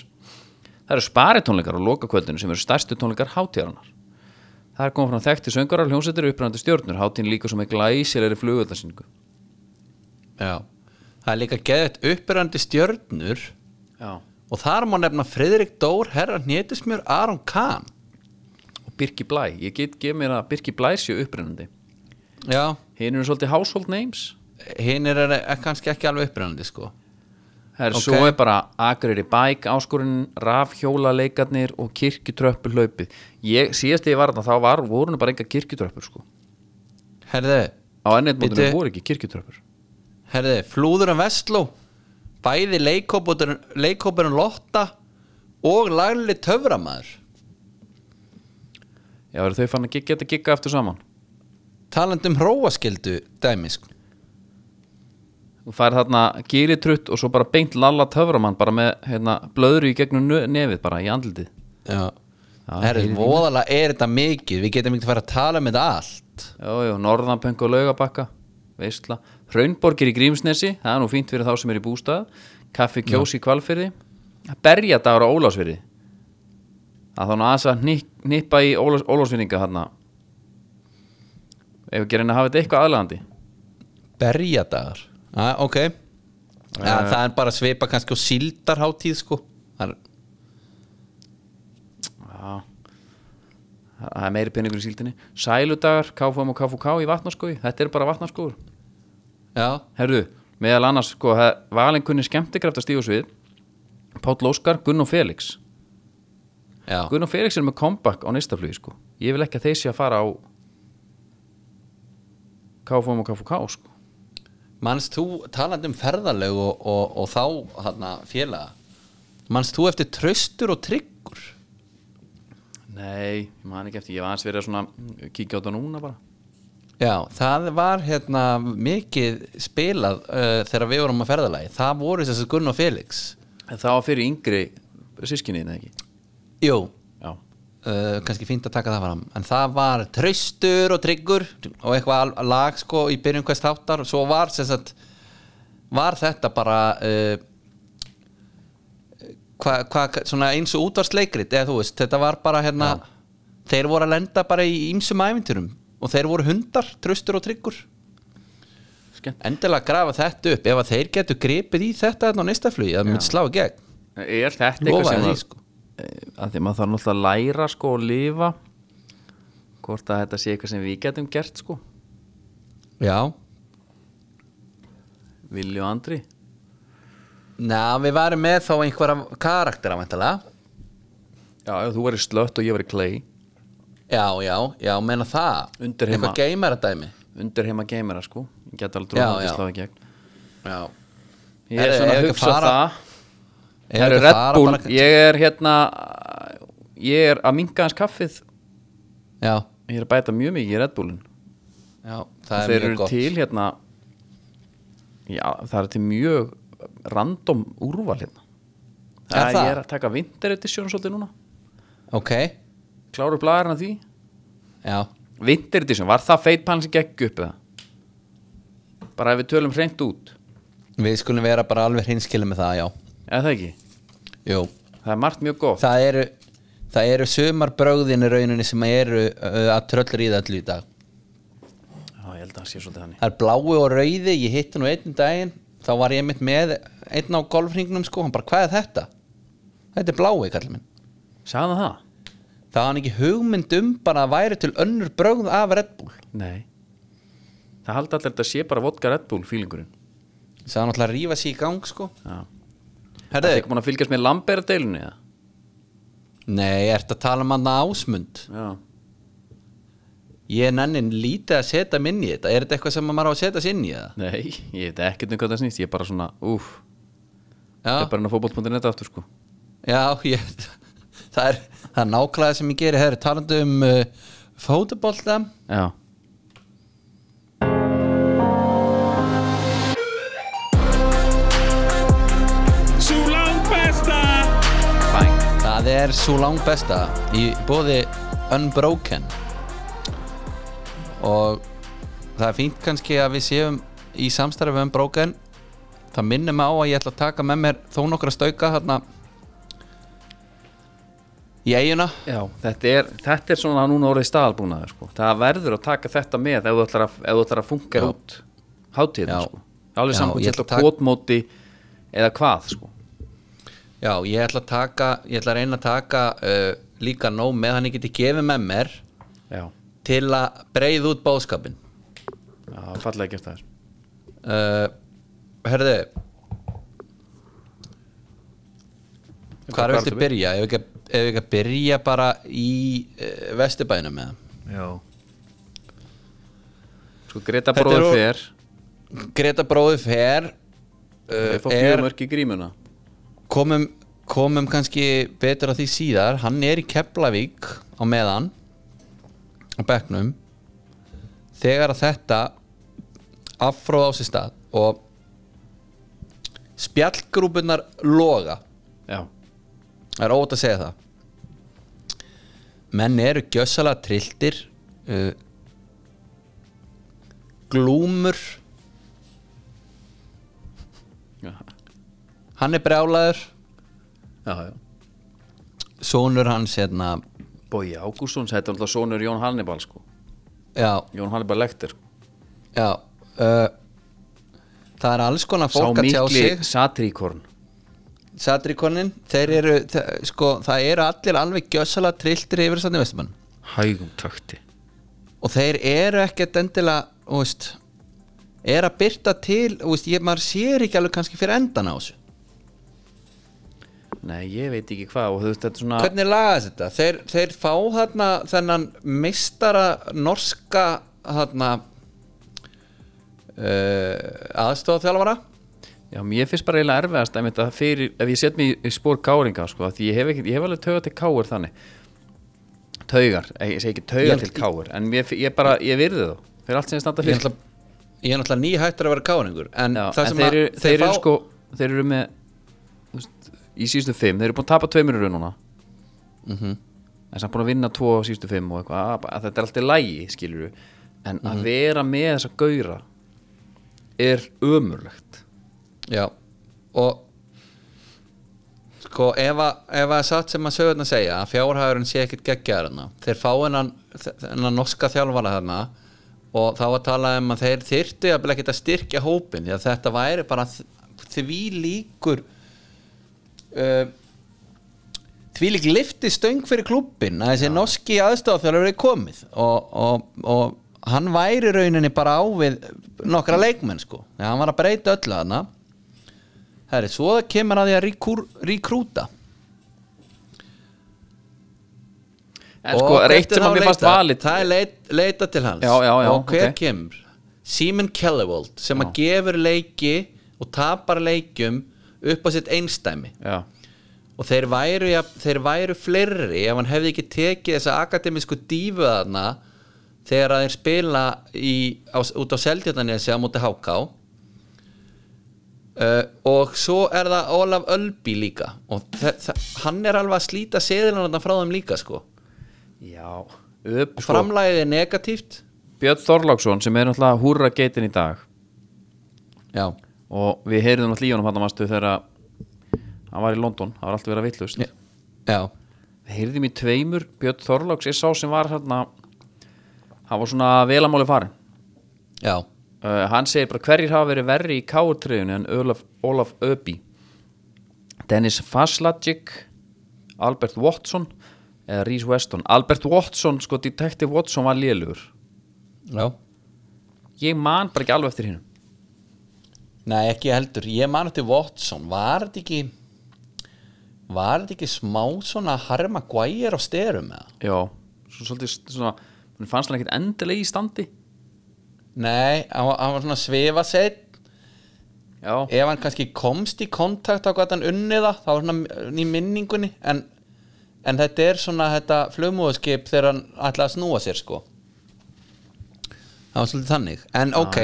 Speaker 2: Það eru sparitónleikar á lokakvöldinu sem eru stærstu tónleikar hátíðarinnar Það er komið frá þekkti söngarar, hljómsættir og uppræðandi stjórnur hátíðin er líka sem er glæsilegri flugöldarsýningu
Speaker 1: Já Það er líka geðið uppbyrjandi stjörnur
Speaker 2: Já
Speaker 1: Og þar má nefna Friðrik Dór, Herra Hnétismjör, Aron Kahn
Speaker 2: Og Birki Blæ, ég get gef mér að Birki Blæ séu upprennandi
Speaker 1: Já,
Speaker 2: Hinn eru svolítið household names
Speaker 1: hinn er er kannski ekki alveg upprænandi sko
Speaker 2: Her,
Speaker 1: Ok.
Speaker 2: Svo er bara Akureyri bæk, áskorinn, rafhjólaleikarnir og kirkjutröppu hlaupið ég, Síðast þegar ég var þarna þá var, voru nú bara enga kirkjutröppur sko.
Speaker 1: Herði,
Speaker 2: Á ennetmótinu
Speaker 1: Bíddu.
Speaker 2: voru ekki kirkjutröppur
Speaker 1: herði, flúður en vestló Bæði leikópurinn Lotta Og lagli töframæður
Speaker 2: Já, eru þau fann að gigga- geta gigga aftur saman
Speaker 1: Talandi um sko. hróaskildu dæmis
Speaker 2: Þú fær þarna gýritrutt og svo bara beint lalla töframann bara með hérna, blöðru í gegnum nö- nefið bara í andlitið
Speaker 1: Já
Speaker 2: Já,
Speaker 1: Herði, voðalega er þetta mikið Við getum ekki að fara að tala um þetta allt
Speaker 2: Jó, jó, Norðanpöng og Laugabakka Veistla, Hraunborgir í Grímsnesi Það er nú fínt fyrir þá sem er í bústað Kaffi Kjós í Kvalfyrði Berjadagur á Ólásfyrði Það þá nú aðeins að hnik- hnippa í Ólás, Ólásfyrninga þarna Ef ekki reyna að hafa þetta eitthvað aðlandi
Speaker 1: Berjadagar ah, Ok Eh. ja, Það er bara að svipa kannski og síldarháttíð sko Það er-
Speaker 2: Já Það er meiri peningur í síldinni Sæludagar, KFM og KFK í vatnarskói Þetta er bara vatnarskóur
Speaker 1: Já,
Speaker 2: Herðu, meðal annars sko, það- Valin kunni skemmtikraft að stíðu svið Páll Óskar, Gunn og Felix
Speaker 1: já
Speaker 2: Gunnar Felix er með comeback á næsta flugi sko. Ég vil ekki að þeir sé að fara á KFM og KFK sko.
Speaker 1: Manst þú, talandi um ferðalög og, og, og þá hana, félaga Manst þú eftir tröstur og tryggur?
Speaker 2: Nei, ég man ekki eftir Ég var aðeins verið að svona kíkja á þetta núna bara
Speaker 1: Já, það var hérna mikið spilað uh, þegar við vorum að ferðalagi Það voru þessi Gunn og Felix
Speaker 2: En það var fyrir yngri sískinni eða ekki
Speaker 1: Jú,
Speaker 2: Já,
Speaker 1: uh, kannski fínt að taka það fram En það var tröstur og tryggur og eitthvað al- lag sko í byrjun hvers þáttar Svo var sem sagt var þetta bara uh, hva, hva, svona eins og útvarsleikrit eða þú veist, þetta var bara hérna þeir voru að lenda bara í ýmsum æfinturum og þeir voru hundar, tröstur og tryggur
Speaker 2: skemmt
Speaker 1: endilega grafa þetta upp ef að þeir getur gripið í þetta hérna á næsta flugi, það myndi slá í gegn
Speaker 2: Eh, Er þetta eitthvað
Speaker 1: lofaði
Speaker 2: sem
Speaker 1: því
Speaker 2: að,
Speaker 1: sko
Speaker 2: að því maður þarf náttúrulega að læra sko og lifa hvort að þetta sé eitthvað sem við getum gert sko
Speaker 1: já,
Speaker 2: Villi og Andri
Speaker 1: Ná, við varum með þá einhverja karaktera væntalega
Speaker 2: Já, ef þú verið slött og ég verið klei
Speaker 1: já, já, já, meina það
Speaker 2: Undir heima.
Speaker 1: eitthvað geimara dæmi
Speaker 2: Undir heima geimera sko Ég get alveg
Speaker 1: Já,
Speaker 2: trúið að
Speaker 1: já.
Speaker 2: þetta slá í gegn
Speaker 1: já,
Speaker 2: Ég er
Speaker 1: Herru, eigum
Speaker 2: svona
Speaker 1: við
Speaker 2: að
Speaker 1: ekki að
Speaker 2: hugsa
Speaker 1: fara-
Speaker 2: það Það eru Red Bull, ég er hérna Ég er að minka hans kaffið
Speaker 1: já,
Speaker 2: Ég er að bæta mjög mikið í Red Bullin
Speaker 1: já, það
Speaker 2: Þeir
Speaker 1: er
Speaker 2: eru
Speaker 1: mjög gott
Speaker 2: til hérna Já, það er til mjög random úrval hérna
Speaker 1: Er það?
Speaker 2: Ég er að taka Winter Edition svolítið núna
Speaker 1: ok,
Speaker 2: kláru blagarna því
Speaker 1: Já,
Speaker 2: Winter Edition, var það feitpann sem gekk upp eða? bara ef við tölum hreint út
Speaker 1: við skulum vera bara alveg hreinskilið með það, já
Speaker 2: eða það ekki,
Speaker 1: Jú,
Speaker 2: það er margt mjög gott
Speaker 1: það eru það eru sumar brögðin í rauninni sem eru uh, að tröllur í það allu í dag
Speaker 2: Já, ég held að það sé svolítið þannig
Speaker 1: Það er blái og rauði, ég hitti nú einn um daginn þá var ég mitt með einn á golfringnum sko, hann bara hvað er þetta? Þetta er blái, kallið minn
Speaker 2: Sagði hann það?
Speaker 1: Það var hann ekki hugmynd um bara að væri til önnur brögð af Red Bull
Speaker 2: Nei Það haldi allir þetta sé bara vodka Red Bull fílingurinn
Speaker 1: Það var náttúrulega að rífa sér í gang sko
Speaker 2: Það er
Speaker 1: Herðu,
Speaker 2: ekki búin að fylgjast með Lambert-deilinu eða?
Speaker 1: nei, ertu að tala um hann ásmund
Speaker 2: Já
Speaker 1: Ég nennin lítið að setja mig inn í þetta Er þetta eitthvað sem maður á að setja sig inn í það?
Speaker 2: Nei, ég veit ekkert um hvað það snýst Ég er bara svona, úf
Speaker 1: Já,
Speaker 2: Ég er bara inn á fótboll.net aftur sko
Speaker 1: Já, ég, það, er, það er nákvæmlega sem ég geri Það er talandi um uh, fótabolta
Speaker 2: Já
Speaker 3: Sú langt besta
Speaker 2: Bang
Speaker 1: Það er svo lang besta í bóði Unbroken og það er fínt kannski að við séum í samstarfi við Unbroken það minnir mig á að ég ætla að taka með mér þó nokkra stauka þarna í eiguna
Speaker 2: Já, þetta er, þetta er svona núna orðið staðalbúnaður sko. Það verður að taka þetta með ef þú ætlar að, ef þú ætlar að funka
Speaker 1: Já.
Speaker 2: út hátíðin
Speaker 1: Já.
Speaker 2: sko. Alveg
Speaker 1: Já,
Speaker 2: samkvæmt
Speaker 1: ég
Speaker 2: þetta
Speaker 1: ætla að taka-
Speaker 2: kvotmóti eða hvað sko.
Speaker 1: Já, ég ætla að taka ég ætla að reyna að taka uh, líka nóg með hann ég geti gefið með mér
Speaker 2: Já,
Speaker 1: til að breið út bóðskapin
Speaker 2: Já fallega gert það sko.
Speaker 1: uh, Herðu Hvar
Speaker 2: Hvað
Speaker 1: viltu
Speaker 2: ertu
Speaker 1: byrja? Ef ekki, ef ekki að byrja bara í uh, Vesturbænum með
Speaker 2: Já Sko, Greta
Speaker 1: Þetta er
Speaker 2: bróður
Speaker 1: úr-
Speaker 2: fer
Speaker 1: Greta bróði fer
Speaker 2: Við
Speaker 1: uh,
Speaker 2: fá fjögur
Speaker 1: er,
Speaker 2: mörk í grímuna
Speaker 1: komum, komum kannski betur á því síðar Hann er í Keflavík á meðan á bekknum þegar að þetta affróð á sér stað og spjallgrúpunar loga
Speaker 2: Já,
Speaker 1: Það er óvægt að segja það Menn eru gjössalega trilltir uh, Glúmur
Speaker 2: já,
Speaker 1: Hann er brjálaður
Speaker 2: já, já.
Speaker 1: Sónur hans hérna
Speaker 2: Bói Ágústsson, þetta er alltaf sonur Jón Hannibal sko.
Speaker 1: Já,
Speaker 2: Jón Hannibal lektir sko.
Speaker 1: já uh, Það er alls konar
Speaker 2: Sá
Speaker 1: fólk að tjá
Speaker 2: mikli
Speaker 1: sig
Speaker 2: satríkorn
Speaker 1: Satrikonin, þeir eru þe- sko, það eru allir alveg gjössalega trilltir yfir sannig vestumann
Speaker 2: Hægum takti
Speaker 1: og þeir eru ekkert endilega þú veist, er að byrta til þú veist, ég, maður sér ekki alveg kannski fyrir endan á þessu
Speaker 2: Nei, ég veit ekki hvað og þú veist þetta er svona
Speaker 1: Hvernig lagast þetta? Þeir, þeir fá þarna þennan meistara norska þarna uh, aðstofþjálfara
Speaker 2: Já, mér finnst bara eiginlega erfiðast einmitt, að fyrir, ef ég set mér í spór káringa sko, af því ég hef, ekki, ég hef alveg tauga til káir þannig Taugar, eh, ég segi ekki tauga
Speaker 1: Ég-
Speaker 2: til káir en mér, fi- ég bara, ég virði þá fyrir allt sem ég standa
Speaker 1: Ég er
Speaker 2: fyrir
Speaker 1: náttúrulega- ég er náttúrulega nýhættur að vera káningur en
Speaker 2: Já,
Speaker 1: það
Speaker 2: en
Speaker 1: sem
Speaker 2: þeir, eru,
Speaker 1: að,
Speaker 2: þeir, eru sko þeir eru með þú veist, í síðustu fimm, þeir eru búin að tapa tveimur raun núna en samt búin að vinna tvo á síðustu fimm og eitthvað að, að þetta er alltaf lægi, skilur við en
Speaker 1: Mhm.
Speaker 2: að vera með þessa gauðra er ömurlegt
Speaker 1: Já, og sko ef að, ef að satt sem að sögurna segja að fjárhæðurinn sé ekkit geggjaður hana þeir fá hennan, hennan norska þjálfara þarna og þá að tala um að þeir þyrtu að ekkit að styrkja hópin því að þetta væri bara þ- því líkur uh, því lík lifti stöng fyrir klubbin að þessi norski aðstofþjálfur er komið og, og, og hann væri í rauninni bara á við nokkra leikmenn sko þegar hann var að breyta öllu hana herri, svo kemur að því að ríkur, ríkrúta
Speaker 2: en sko, er eitt
Speaker 1: hvert
Speaker 2: sem
Speaker 1: þá
Speaker 2: að mér fast
Speaker 1: leitað?
Speaker 2: valið
Speaker 1: það er leit, leita til hans
Speaker 2: Já, já, já,
Speaker 1: og hver
Speaker 2: ok.
Speaker 1: kemur Simon Kellevold sem að gefur leiki og tapar leikjum upp á sitt einstæmi
Speaker 2: já,
Speaker 1: og þeir væru, ja, þeir væru fleiri ef hann hefði ekki tekið þessa akademisku dífu þarna þegar að þeir spila í, á, út á Seldjarnanesi á móti HK uh, og svo er það Ólaf Ölby líka og þe- þe- hann er alveg að slíta seðilana frá þeim líka sko
Speaker 2: Já, upp sko
Speaker 1: Framlagið er negatíft
Speaker 2: Björn Þorláksson sem er náttúrulega húrra geitin í dag
Speaker 1: Já,
Speaker 2: og við heyrðum náttúrulega í honum hann mástu þegar að- hann var í London, það var alltaf verið að vittlust
Speaker 1: Ég- já,
Speaker 2: Við heyrðum í tveimur, Björn Þorláks er sá sem var hérna hann var svona velamáli farin
Speaker 1: já
Speaker 2: uh, hann segir bara hverjir hafa verið verri í káutriðinu en Olaf, Olaf Öbi Dennis Faslagic Albert Watson eða Rhys Weston Albert Watson, sko Detective Watson var lélugur
Speaker 1: Já
Speaker 2: ég man bara ekki alveg eftir hinn
Speaker 1: Nei, ekki heldur, ég man eftir Watson Var þetta ekki Var þetta ekki smá svona Harry Maguire á styrum eða?
Speaker 2: já, svo svolítið svona hann fannst hann ekkert endilega í standi
Speaker 1: Nei, hann var, hann var svona svifa seitt
Speaker 2: já,
Speaker 1: Ef hann kannski komst í kontakt á hvað hann unnið það, þá var svona í minningunni en, en þetta er svona þetta flugmóðuskip þegar hann ætlaði að snúa sér sko Það var svolítið þannig En ok,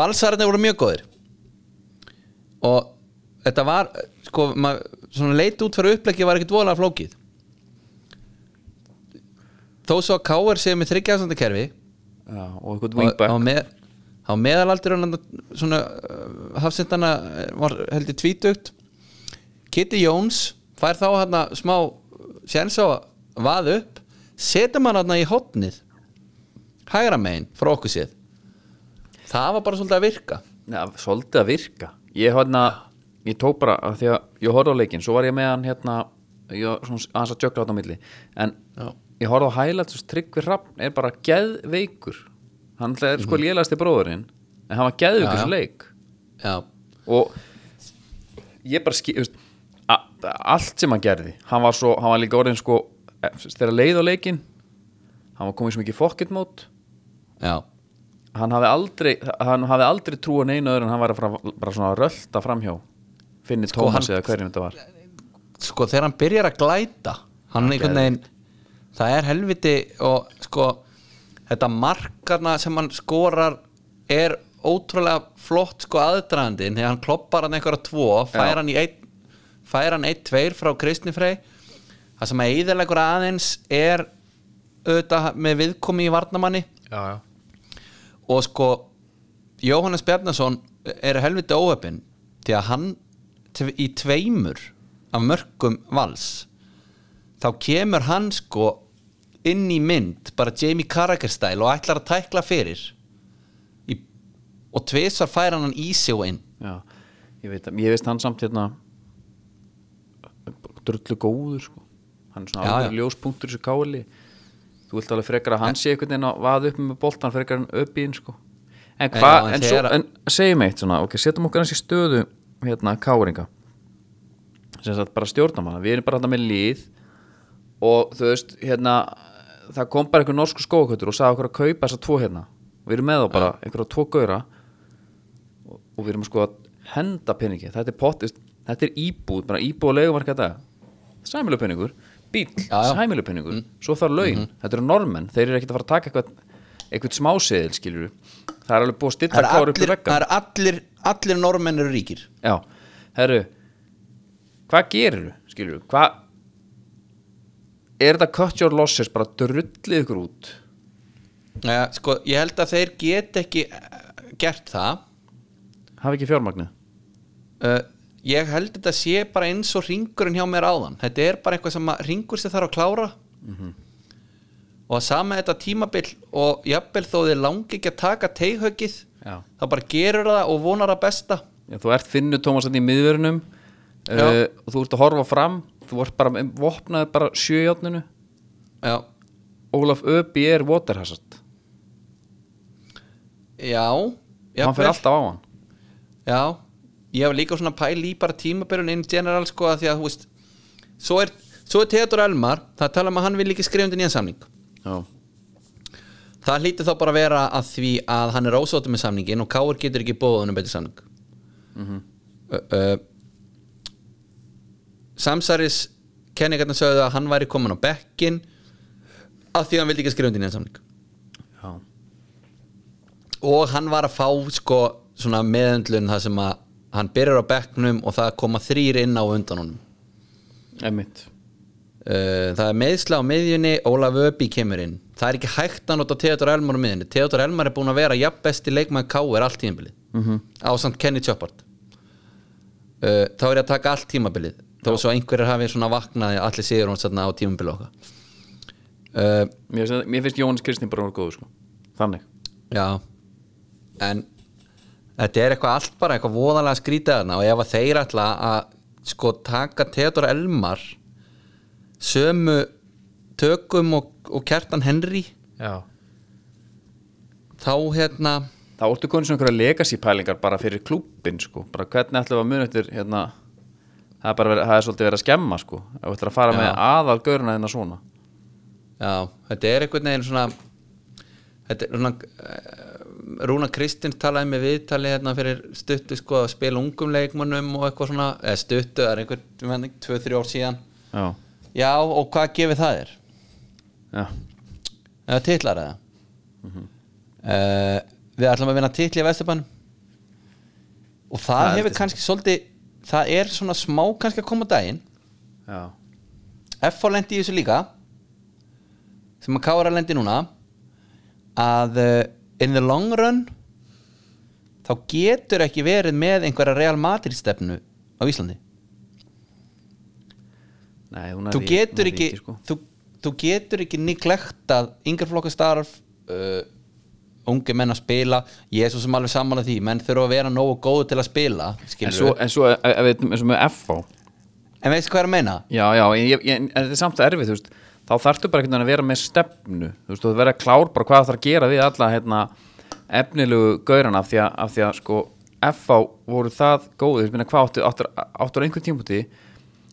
Speaker 1: valsararnir voru mjög góðir og þetta var sko, mað, svona leit út fyrir uppleggi var ekkit voðalega flókið Þó svo að K.R. séu með þryggjaðsandi kerfi
Speaker 2: já og eitthvað
Speaker 1: á, á,
Speaker 2: wingback
Speaker 1: með, á meðalaldur hann svona uh, hafsendana var heldur tvítugt Kitty Jones fær þá hann smá séns á að vaða upp setum hann hann í hotnið hægra megin frá okkur séð það var bara svolítið að virka
Speaker 2: ja, svolítið að virka ég, hérna, ég tók bara af því að ég horfði á leikinn, svo var ég með hann hérna, ég var svona aðeins að jökla hann á milli en
Speaker 1: Já.
Speaker 2: ég horfði á highlights og Tryggvi Hrafn er bara geðveikur hann er sko lélægasti bróðurinn en hann var
Speaker 1: Já,
Speaker 2: geðveikur
Speaker 1: Mhm. já.
Speaker 2: sem leik
Speaker 1: já,
Speaker 2: og ég bara skil veist, a- allt sem hann gerði hann var, svo, hann var líka orðin sko eh, þegar leið á leikin hann var komið svo mikið fokkett mót
Speaker 1: já,
Speaker 2: hann hafði aldrei hann hafði aldrei trúa neina öðru en hann var að fara, bara svona að rölda framhjá finni
Speaker 1: Sko,
Speaker 2: Tómas
Speaker 1: hann-
Speaker 2: eða hverjum þetta var
Speaker 1: sko þegar hann byrjar að glæta hann einhvern veginn það er helviti og sko þetta markarna sem hann skorar er ótrúlega flott sko aðdraðandinn þegar hann kloppar hann einhverja tvo fær
Speaker 2: Já.
Speaker 1: hann í einn fær hann einn tveir frá Kristni Frey það sem að eðalegur aðeins er auðvitað með viðkomi í varnamanni
Speaker 2: já, já.
Speaker 1: og sko Jóhannes Bjarnason er helviti óöfin því að hann tve- í tveimur af mörgum vals þá kemur hann sko inn í mynd bara Jamie Carragher stæl og ætlar að tækla fyrir í, og tvisar færa hann í sig og inn
Speaker 2: ég veit að ég veist hann samt hérna drullu góður sko hann er svona
Speaker 1: Já,
Speaker 2: alveg ljóspunktur í þessu káli þú vilt alveg frekar að hann sé einhvern veginn að vaða upp með boltan frekar en upp í hinn sko en
Speaker 1: Já,
Speaker 2: hvað,
Speaker 1: en
Speaker 2: en, svo,
Speaker 1: þegar-
Speaker 2: en segjum eitt svona ok, setjum okkur hans í stöðu hérna káringa sem sagt bara stjórnamanna, við erum bara hérna með líð og þú veist hérna, það kom bara einhver norsku skókötur og sagði okkur að kaupa þessa tvo hérna við erum með þá bara einhverja tvo gauðra og, og við erum sko að henda peningi, þetta er pottist þetta er íbúð, bara íbúð og legumarka þetta sæmilu peningur,
Speaker 1: Já,
Speaker 2: bíl
Speaker 1: Mm. Mm-hmm. já.
Speaker 2: sæmilu peningur, svo þarf laun þetta eru normenn, þeir eru ekkert að fara að taka eitthvað eitthvað smáseðil skilur það er alveg búið að stilla
Speaker 1: það
Speaker 2: kára
Speaker 1: eru
Speaker 2: upp í
Speaker 1: allir,
Speaker 2: vekka
Speaker 1: það eru allir, allir normenn eru ríkir
Speaker 2: Já, herru Hvað gerirðu, skilurðu? Hvað Er þetta cut your losses bara drullið ykkur út?
Speaker 1: ja, sko, ég held að þeir get ekki eh, gert það
Speaker 2: Hafi ekki fjármagnið?
Speaker 1: uh, ég held þetta sé bara eins og ringurinn hjá mér áðan þetta er bara eitthvað sem að ringur sér þarf að klára
Speaker 2: Mhm.
Speaker 1: og sama þetta tímabil og jafnvel þó þið langi ekki að taka teighaukið
Speaker 2: Já.
Speaker 1: þá bara gerur það og vonar að besta
Speaker 2: Já, þú ert finnu Tómas hérna í miðverunum
Speaker 1: Já.
Speaker 2: uh, og þú ert að horfa fram þú ert bara, vopnaði bara sjöjátninu
Speaker 1: já,
Speaker 2: Ólaf Öbi er waterhazard
Speaker 1: já,
Speaker 2: hann
Speaker 1: jafnvel.
Speaker 2: fer alltaf á hann
Speaker 1: Já, ég hef líka svona pæl í bara tímabilun inn general sko að því að þú veist svo er, svo er Theodor Elmar það tala um að hann vil ekki skrifa undir nýjan samning
Speaker 2: Já,
Speaker 1: það hlýtur þá bara að vera að því að hann er ósóttum með samningin og Káur getur ekki bóðið honum betri samning mm Samsaris kenningarnar sögðu að hann væri komin á bekkin að því að hann vildi ekki skrifa undir nýjan samning
Speaker 2: já,
Speaker 1: og hann var að fá sko svona meðendlun það sem að hann byrjar á bekknum og það koma þrýr inn á undan honum
Speaker 2: emmitt
Speaker 1: Uh, það er meðsla á miðjunni Ólaf Öbi kemur inn það er ekki hægt að nota Theodor Elmar á miðjunni Theodor Elmar er búin að vera jafn besti leikmann K.R. allt tímabilið mm -hmm. ásamt Kenny Chopard uh, þá er ég að taka allt tímabilið þó svo einhverjir hafi svona vaknaði allir sigur hún á tímabilið okkar uh,
Speaker 2: mér, finnst- mér finnst Jóhannes Kristni bara voru góður sko. þannig
Speaker 1: Já En þetta er eitthvað allt bara eitthvað voðalega skrítið þarna og ef að þeir ætla að sko taka Theodor Elmar sömu tökum og, og kjartan Henry
Speaker 4: Já,
Speaker 1: þá hérna
Speaker 2: þá ortu konið svona einhverja legacy pælingar bara fyrir klúbin sko. bara hvernig ætlum við að muna eftir hérna, það, er bara verið, það er svolítið verið að skemma sko. ef við ætlum að fara
Speaker 1: Já.
Speaker 2: með aðal gauruna þeirna svona
Speaker 1: já, þetta er einhvern veginn svona þetta er svona eh, Rúna Kristins talaði með viðtali hérna fyrir stuttu sko að spila ungum leikmannum og eitthvað svona, eða stuttu, það er einhvern 2-3 ár síðan
Speaker 2: já,
Speaker 1: Já, og hvað gefið það er?
Speaker 2: já,
Speaker 1: eða titlar eða uh, við ætlum að vinna titli í Vesturbanum og það,
Speaker 2: Það er
Speaker 1: hefur
Speaker 2: þetta
Speaker 1: kannski svolítið það er svona smá kannski að koma á daginn
Speaker 2: já.
Speaker 1: F.O. lendi í þessu líka sem að Kára lendi núna að uh, in the long run þá getur ekki verið með einhverja Real Madrid stefnu á Íslandi
Speaker 2: Nei, hún er
Speaker 1: þú
Speaker 2: í- hún
Speaker 1: getur
Speaker 2: er í
Speaker 1: ekki
Speaker 2: sko.
Speaker 1: þú, þú getur ekki neglektað yngreflokkastarf uh, unge menn að spila ég er svo sem alveg sammála því menn þurfa að vera nógu góðu til að spila
Speaker 2: en
Speaker 1: en,
Speaker 2: svo, en svo ef- ef við- eins og með FO
Speaker 1: en veistu hvað ég er að meina?
Speaker 2: já, já, en ég, ég, en þetta er samt erfið þú veist, þá þarftu bara einhvern veginn að vera með stefnu þú veist, þú verður að klár bara hvað það þarf að gera við alla hérna, efnilegu gaurana af því að, af því að sko, FO voru það góðir, minna hvað áttu áttur, áttur einhvern tímpúti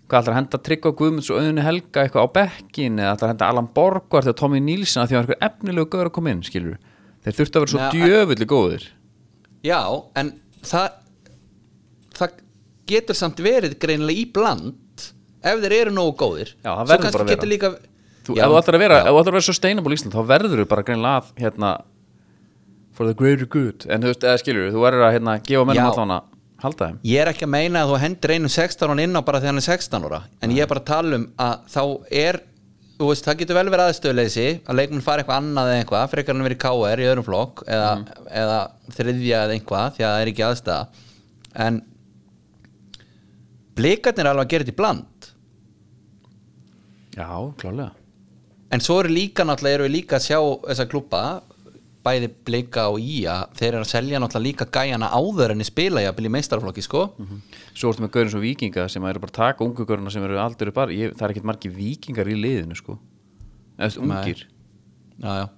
Speaker 2: hvað ætlar að henda Tryggva Guðmunds og auðinu Helga eitthvað á bekkin eða ætlar að henda Alan Borgvart eða Tommy Nílsson af því að einhver efnilegu gaur að koma inn skilur þeir þurftu að vera svo
Speaker 1: Já, en-
Speaker 2: djöfulli góðir
Speaker 1: já, en það það getur samt verið greinilega í bland ef þeir eru nógu góðir
Speaker 2: Já, það
Speaker 1: svo
Speaker 2: verður bara
Speaker 1: kannski
Speaker 2: að
Speaker 1: getur
Speaker 2: vera.
Speaker 1: líka
Speaker 2: Þú,
Speaker 1: Já,
Speaker 2: ef þú ætlar að vera,
Speaker 1: já.
Speaker 2: ef þú ætlar að vera sustainable í Ísland þá verður þú bara greinlega að hérna, for the greater good en þú veist, eða skilur þú verður að hérna, gefa
Speaker 1: Já.
Speaker 2: mennum allan að halda þeim
Speaker 1: Ég er ekki að meina að þú hendir einum 16 ára inn á bara þegar hann er 16 ára en ég er bara að tala um að þá er þú veist, það getur vel verið aðstöðleysi að leikmenn fara eitthvað annað eða eitthvað frekar hann verið KR í öðrum flokk eða, eða þriðja eða eitthvað því að það er ekki aðstæða en blikarnir er alveg að gera þetta í bland
Speaker 2: Já, klálega
Speaker 1: en svo eru líka náttúrulega eru við líka að sjá þessa klúpa bæði blika og ía þeir eru að selja náttúrulega líka gæjana áður en í spila jafnvel í meistarflokki sko
Speaker 2: Mm. Mhm. Svo ertu með gaurin svo vikinga sem eru bara að taka ungu gaurina sem eru aldrei bara, ég, það er ekkert margir vikingar í liðinu sko eða þú veist,
Speaker 1: Nei.
Speaker 2: ungir
Speaker 1: já já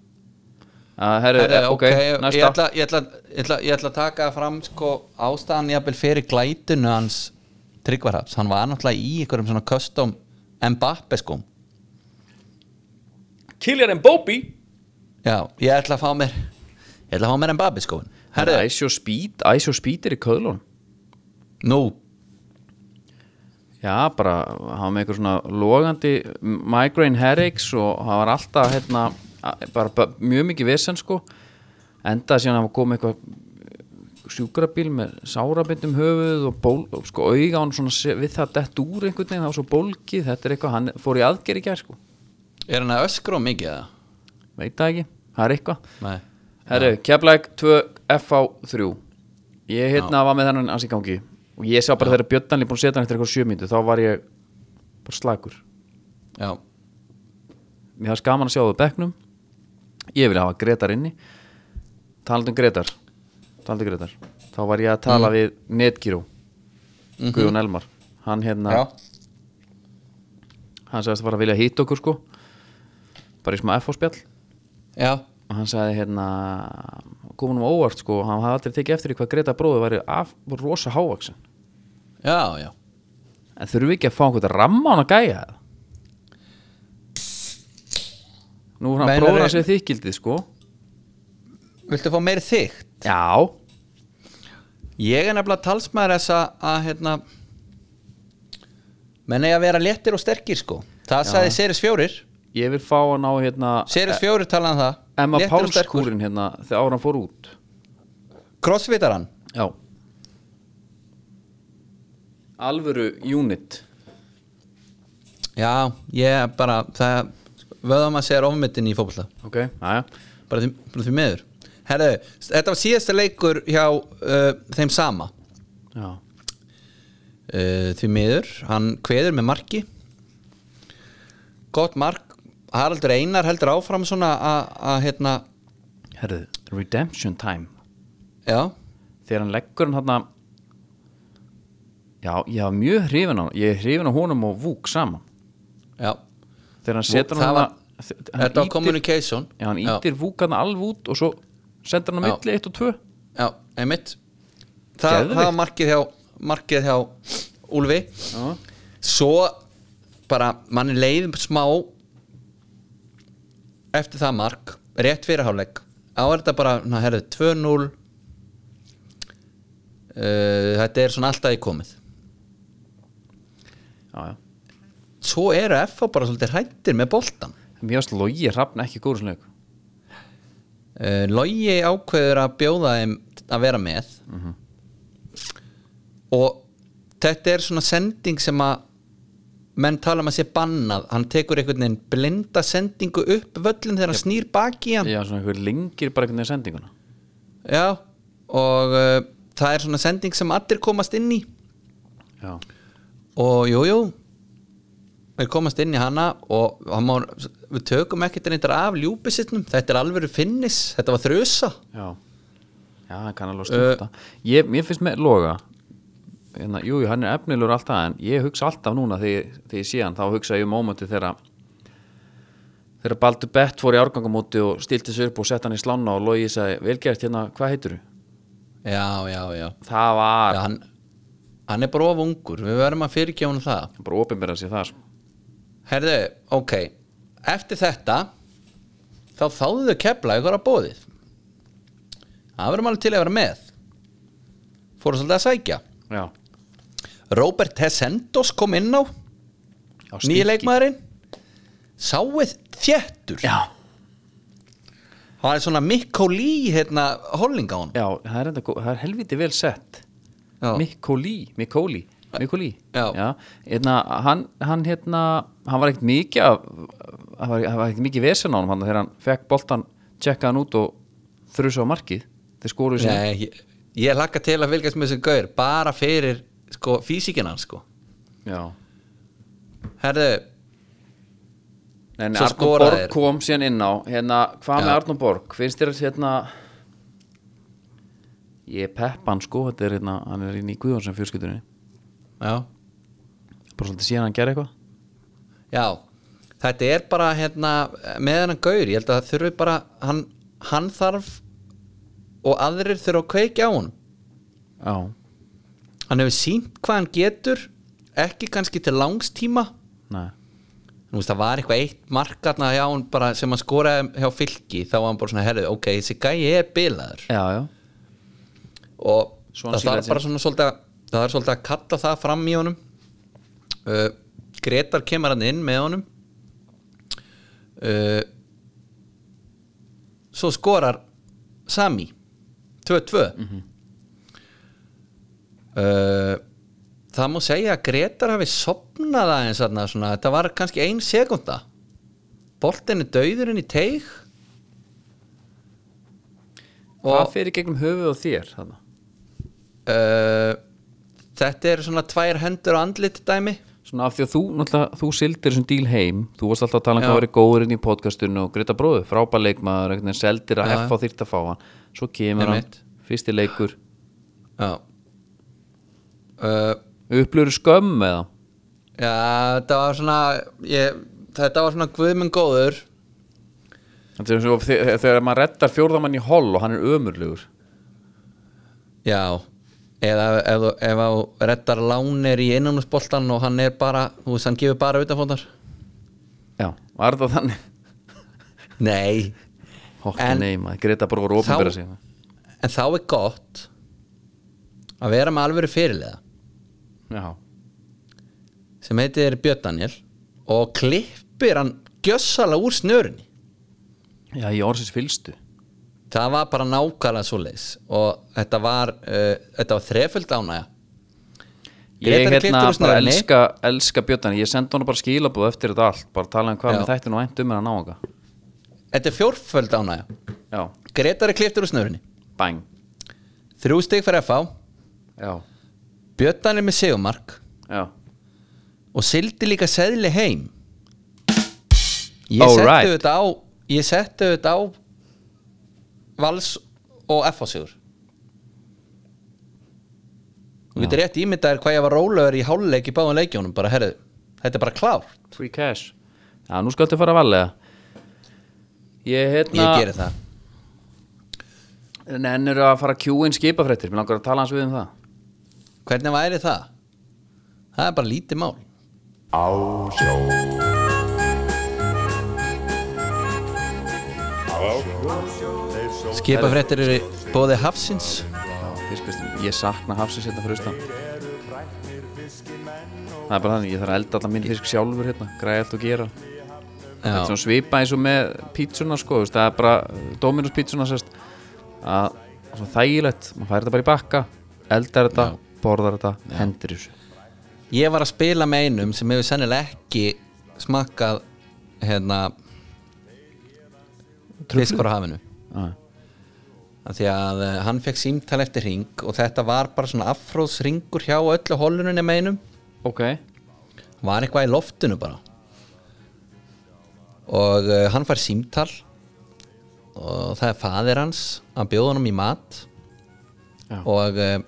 Speaker 2: að, herru,
Speaker 1: Herri,
Speaker 2: ok, næsta
Speaker 1: Eh, ég, ætla, ég, ætla, ég, ætla, ég ætla að taka fram sko, ástæðan jafnvel fyrir glætinu hans tryggvarhaps, hann var náttúrulega í einhverjum svona custom Mbappe sko
Speaker 2: Kiljar en Bóbi
Speaker 1: já, ég ætla að fá mér ég ætla að fá mér Mbappe sko herru,
Speaker 2: Æsjó Speed, Æsjó Speed er í köðlun
Speaker 1: nú,
Speaker 2: Já, bara, hann var með eitthvað svona logandi migraine headaches og hann var alltaf, hérna, a- bara, bara mjög mikið vesen, sko. Endaði síðan að hann kom með eitthvað sjúkrabíl með sárabindum höfuð og, ból, og sko, auga hann svona se- við það dett úr einhvern veginn, það var svo bólgið, þetta er eitthvað, hann fór í aðgerð í gær, sko.
Speaker 1: er hann að öskra um mikið eða?
Speaker 2: Veit það ekki, það er eitthvað.
Speaker 1: nei,
Speaker 2: Herru, Keflæk 2 FH3 Ég hérna var með þennan hans í gangi og ég sá bara þegar Björnanli búin að setja hann eftir eitthvað sjömyndu þá var ég bara slagur
Speaker 1: já,
Speaker 2: mér hafði skaman að sjá það bekknum ég vilja hafa Gretar inni talandi um Gretar talandi um Gretar þá var ég að tala
Speaker 1: Mhm.
Speaker 2: við Netgyro Guðjón Elmar hann hérna
Speaker 1: já
Speaker 2: hann sagðist að fara að vilja hýta okkur sko bara í smá FH spjall
Speaker 1: já,
Speaker 2: og hann sagði hérna komunum óvart sko hann hafði aldrei tekið eftir í hvað Gretar bróði væri af rosa hávaksin
Speaker 1: já, já
Speaker 2: en þurfum við ekki að fá einhvern ramma á hann að gæja það nú er hann
Speaker 1: Meinar
Speaker 2: bróður
Speaker 1: er-
Speaker 2: hans við þykildið sko
Speaker 1: viltu fá meiri þygt?
Speaker 2: já
Speaker 1: Ég er nefnilega talsmaður þess að, að hérna menn eiga að vera léttir og sterkir sko það sagði Series 4
Speaker 2: Ég vil fá hann á hérna
Speaker 1: Series 4 talaði um það
Speaker 2: Emma
Speaker 1: léttur og sterkur.
Speaker 2: Pálskúrin hérna þegar ára hann fór út
Speaker 1: Crossfitar hann
Speaker 2: Já Alvöru unit
Speaker 1: Já, ég bara það, vöðum að segja ofmyndin í fótbolta
Speaker 2: ok, aðja
Speaker 1: bara því, bara því meður Herðu, þetta var síðasta leikur hjá uh, þeim sama
Speaker 2: já,
Speaker 1: uh, því miður, hann kveður með marki gott mark Haraldur Einar heldur áfram svona að- að hérna,
Speaker 2: herðu, redemption time
Speaker 1: já
Speaker 2: þegar hann leggur hann þarna já, ég var mjög hrifin á ég er hrifin á honum og vúk saman
Speaker 1: já,
Speaker 2: þegar hann setur
Speaker 1: það
Speaker 2: hann
Speaker 1: var-
Speaker 2: þarna- hann
Speaker 1: þetta var
Speaker 2: ýtir-
Speaker 1: communication
Speaker 2: já, hann ítir vúk hann alveg út og svo sendur hann á
Speaker 1: Já.
Speaker 2: milli 1 og 2
Speaker 1: já, einmitt það,
Speaker 2: Geðveikt.
Speaker 1: það var markið hjá markið hjá Úlfi svo bara manni leiðum smá eftir það mark rétt fyrir hálfleik á er þetta bara, na, herðu, 2-0 uh, Eh, þetta er svona alltaf í komið
Speaker 2: já, já
Speaker 1: svo eru FH bara svolítið hrættir með boltan
Speaker 2: Mér varst logi hrafna ekki góður svona leik
Speaker 1: uh, Logi ákveður að bjóða þeim að vera með og þetta er svona sending sem að menn tala um að sé bannað hann tekur einhvern veginn blinda sendingu upp völlin þegar hann snýr baki í hann
Speaker 2: Já, svona einhver lengir bara einhvern veginn sendinguna
Speaker 1: já, og uh, það er svona sending sem allir komast inn í
Speaker 2: Já,
Speaker 1: og jújú jú, við komast inn í hana og hann má, við tökum ekkert reyndar af ljúbisittnum, þetta er alveg finnis, þetta var þrjusa
Speaker 2: já Já, hann kann alveg stúta uh, ég, Mér finnst með loga hérna, Jú, jú, hann er efnilegur alltaf en ég hugsa alltaf núna þegar, þegar ég sé hann þá hugsa ég um mómenti þegar þegar Baldur Bett fór í árgangamóti og stilti sér upp og sett hann í slána og logi sagði, velgert hérna, hvað heitir þú?
Speaker 1: já, já, já
Speaker 2: Það var,
Speaker 1: Já, hann, hann er bara of ungur við verðum að fyrirgjá hann það
Speaker 2: hann bara opinberða sér það sko.
Speaker 1: herðu, ok, eftir þetta þá þáðu þau kepla ykkur að bóðið það verðum alveg til að vera með fóru svolítið að sækja
Speaker 2: Já,
Speaker 1: Robert Tessendos kom inn á nýja
Speaker 2: já stingi.
Speaker 1: leikmaðurinn sáið þjettur
Speaker 2: Já,
Speaker 1: það er svona Mikko Lee hérna, holling á hann
Speaker 2: já, það er, enda, gó- það er helviti vel sett
Speaker 1: Já.
Speaker 2: Mikkóli Mikkóli Mikkóli
Speaker 1: Já.
Speaker 2: Hérna, hann, hann hérna hann var ekkert mikið af, hann var, hann var ekkert mikið vesen á hann þegar hann fekk boltan, tjekkaði hann út og þrusa á markið þeir skoruðu sér
Speaker 1: Nei, ég, ég lakka til að fylgjast með þessum gaur bara fyrir sko, físikina hans sko.
Speaker 2: Já
Speaker 1: herðu,
Speaker 2: En
Speaker 1: Svo
Speaker 2: Arnur
Speaker 1: skora
Speaker 2: Borg
Speaker 1: þeir.
Speaker 2: kom síðan inn á hérna, hvað með
Speaker 1: Já.
Speaker 2: Arnur Borg? Finnst þér hérna ég peppa hann sko þetta er hérna, hann er inn í Guðjónsson fjörskiptunni
Speaker 1: já
Speaker 2: bara svolítið síðan hann gerði eitthvað
Speaker 1: Já, þetta er bara hérna, með hennan gaur, ég held að þurfi bara hann, hann þarf og aðrir þurfa að kveikja á hann
Speaker 2: Já,
Speaker 1: hann hefur sínt hvað hann getur ekki kannski til langstíma
Speaker 2: nei,
Speaker 1: Þú veist, það var eitthvað eitt markarna hjá hann bara sem hann skoraði hjá fylki þá var hann bara svona, herrið, ok, þessi gæi er bilaður
Speaker 2: já, já
Speaker 1: og
Speaker 2: Svona
Speaker 1: það þarf
Speaker 2: sílaði
Speaker 1: bara svona svolítið að það er svolítið að kalla það fram í honum uh, Gretar kemur hann inn með honum uh, svo skorar Sami 2-2 uh, það má segja að Gretar hafi sopnað aðeins þarna svona, þetta var kannski ein sekunda boltin er döður inn í teig
Speaker 2: Hvað fyrir gegnum höfuð á þér? Þarna?
Speaker 1: Uh, þetta eru svona tvær hendur og andlit dæmi
Speaker 2: svona af því að þú, náttúrulega, þú sildir þessum díl heim, þú varst alltaf að tala um
Speaker 1: Já.
Speaker 2: hvað verið góður inn í podcastinu og greita bróðu, frábær leikmaður einhvern veginn seldir að F á þýrt að fá hann svo kemur hann,
Speaker 1: Einmitt.
Speaker 2: fyrsti leikur
Speaker 1: já uh,
Speaker 2: upplöru skömm eða
Speaker 1: já, þetta var svona ég, þetta var svona guðminn góður
Speaker 2: Þetta er svo, þegar, þegar maður reddar fjórðamann í holl og hann er ömurlegur
Speaker 1: já eða ef, þú- ef á reddar lánir í innanúsboltan og hann er bara þú veist, hann gefur bara utanfóndar
Speaker 2: já, var það þannig?
Speaker 1: nei, En-
Speaker 2: Hótti neima, greita bróður og
Speaker 1: þá
Speaker 2: opinbera sig
Speaker 1: en þá er gott að vera með alvöru fyrirlega
Speaker 2: já,
Speaker 1: sem heitir Björn Daniel og klippir hann gjössalega úr snörunni
Speaker 2: já, í orðsins fylstu
Speaker 1: Það var bara eh, nákvæmlega svoleiðis og þetta var, uh, þetta var þreföld ánægja
Speaker 2: Ég
Speaker 1: Grétar er
Speaker 2: hérna
Speaker 1: klipptur úr
Speaker 2: bara
Speaker 1: snörunni.
Speaker 2: elska, elska bjötan Ég sendi honum bara skilabúð eftir þetta allt Bara tala um hvað
Speaker 1: Já.
Speaker 2: með þættinu og vænt um hennar náunga
Speaker 1: Þetta er fjórföld ánægja
Speaker 2: Já,
Speaker 1: Gretar er kliftur úr snörinni
Speaker 2: bang
Speaker 1: Þrjú stig fyrir FH
Speaker 2: Já,
Speaker 1: Bjötan er með segumark
Speaker 2: já
Speaker 1: Og sildi líka seðli heim Ég
Speaker 2: All
Speaker 1: setti
Speaker 2: right.
Speaker 1: þetta á Ég setti þetta á Vals og FH sigur Þú getur rétt ímyndaðir hvað ég var rólegur í háluleik í báðan leikjónum bara herðu, þetta er bara klár
Speaker 2: Free cash Já, nú skaltu fara að valega Ég
Speaker 1: Ég
Speaker 2: hérna
Speaker 1: geri það
Speaker 2: Nennir að fara að Q-in skipafrættir Mér langar að tala hans við um það
Speaker 1: Hvernig væri það? Það er bara lítið mál
Speaker 4: Á sjó
Speaker 1: Skipafréttir eru bóði hafsins
Speaker 2: Fiskvistin, ég sakna hafsins hérna fyrir austan Það er bara þannig, ég þarf að elda allan minn fisk sjálfur hérna, græði allt og gera Þetta er
Speaker 1: Já,
Speaker 2: svona svipa eins og með pítsuna sko, þú veist, það er bara Dominus pítsuna sérst að svona þægilegt, maður fær þetta bara í bakka eldar þetta, borðar þetta, hendir þessu
Speaker 1: ég var að spila með einum sem hefur sennilega ekki smakkað hérna fiskur á hafinu
Speaker 2: Já.
Speaker 1: Af því að eh, hann fekk símtal eftir ring og þetta var bara svona afróðsringur hjá öllu holununni með einum
Speaker 2: Ok,
Speaker 1: var eitthvað í loftinu bara og uh, hann fær símtal og það er faðir hans að bjóða honum í mat
Speaker 2: Já.
Speaker 1: og uh,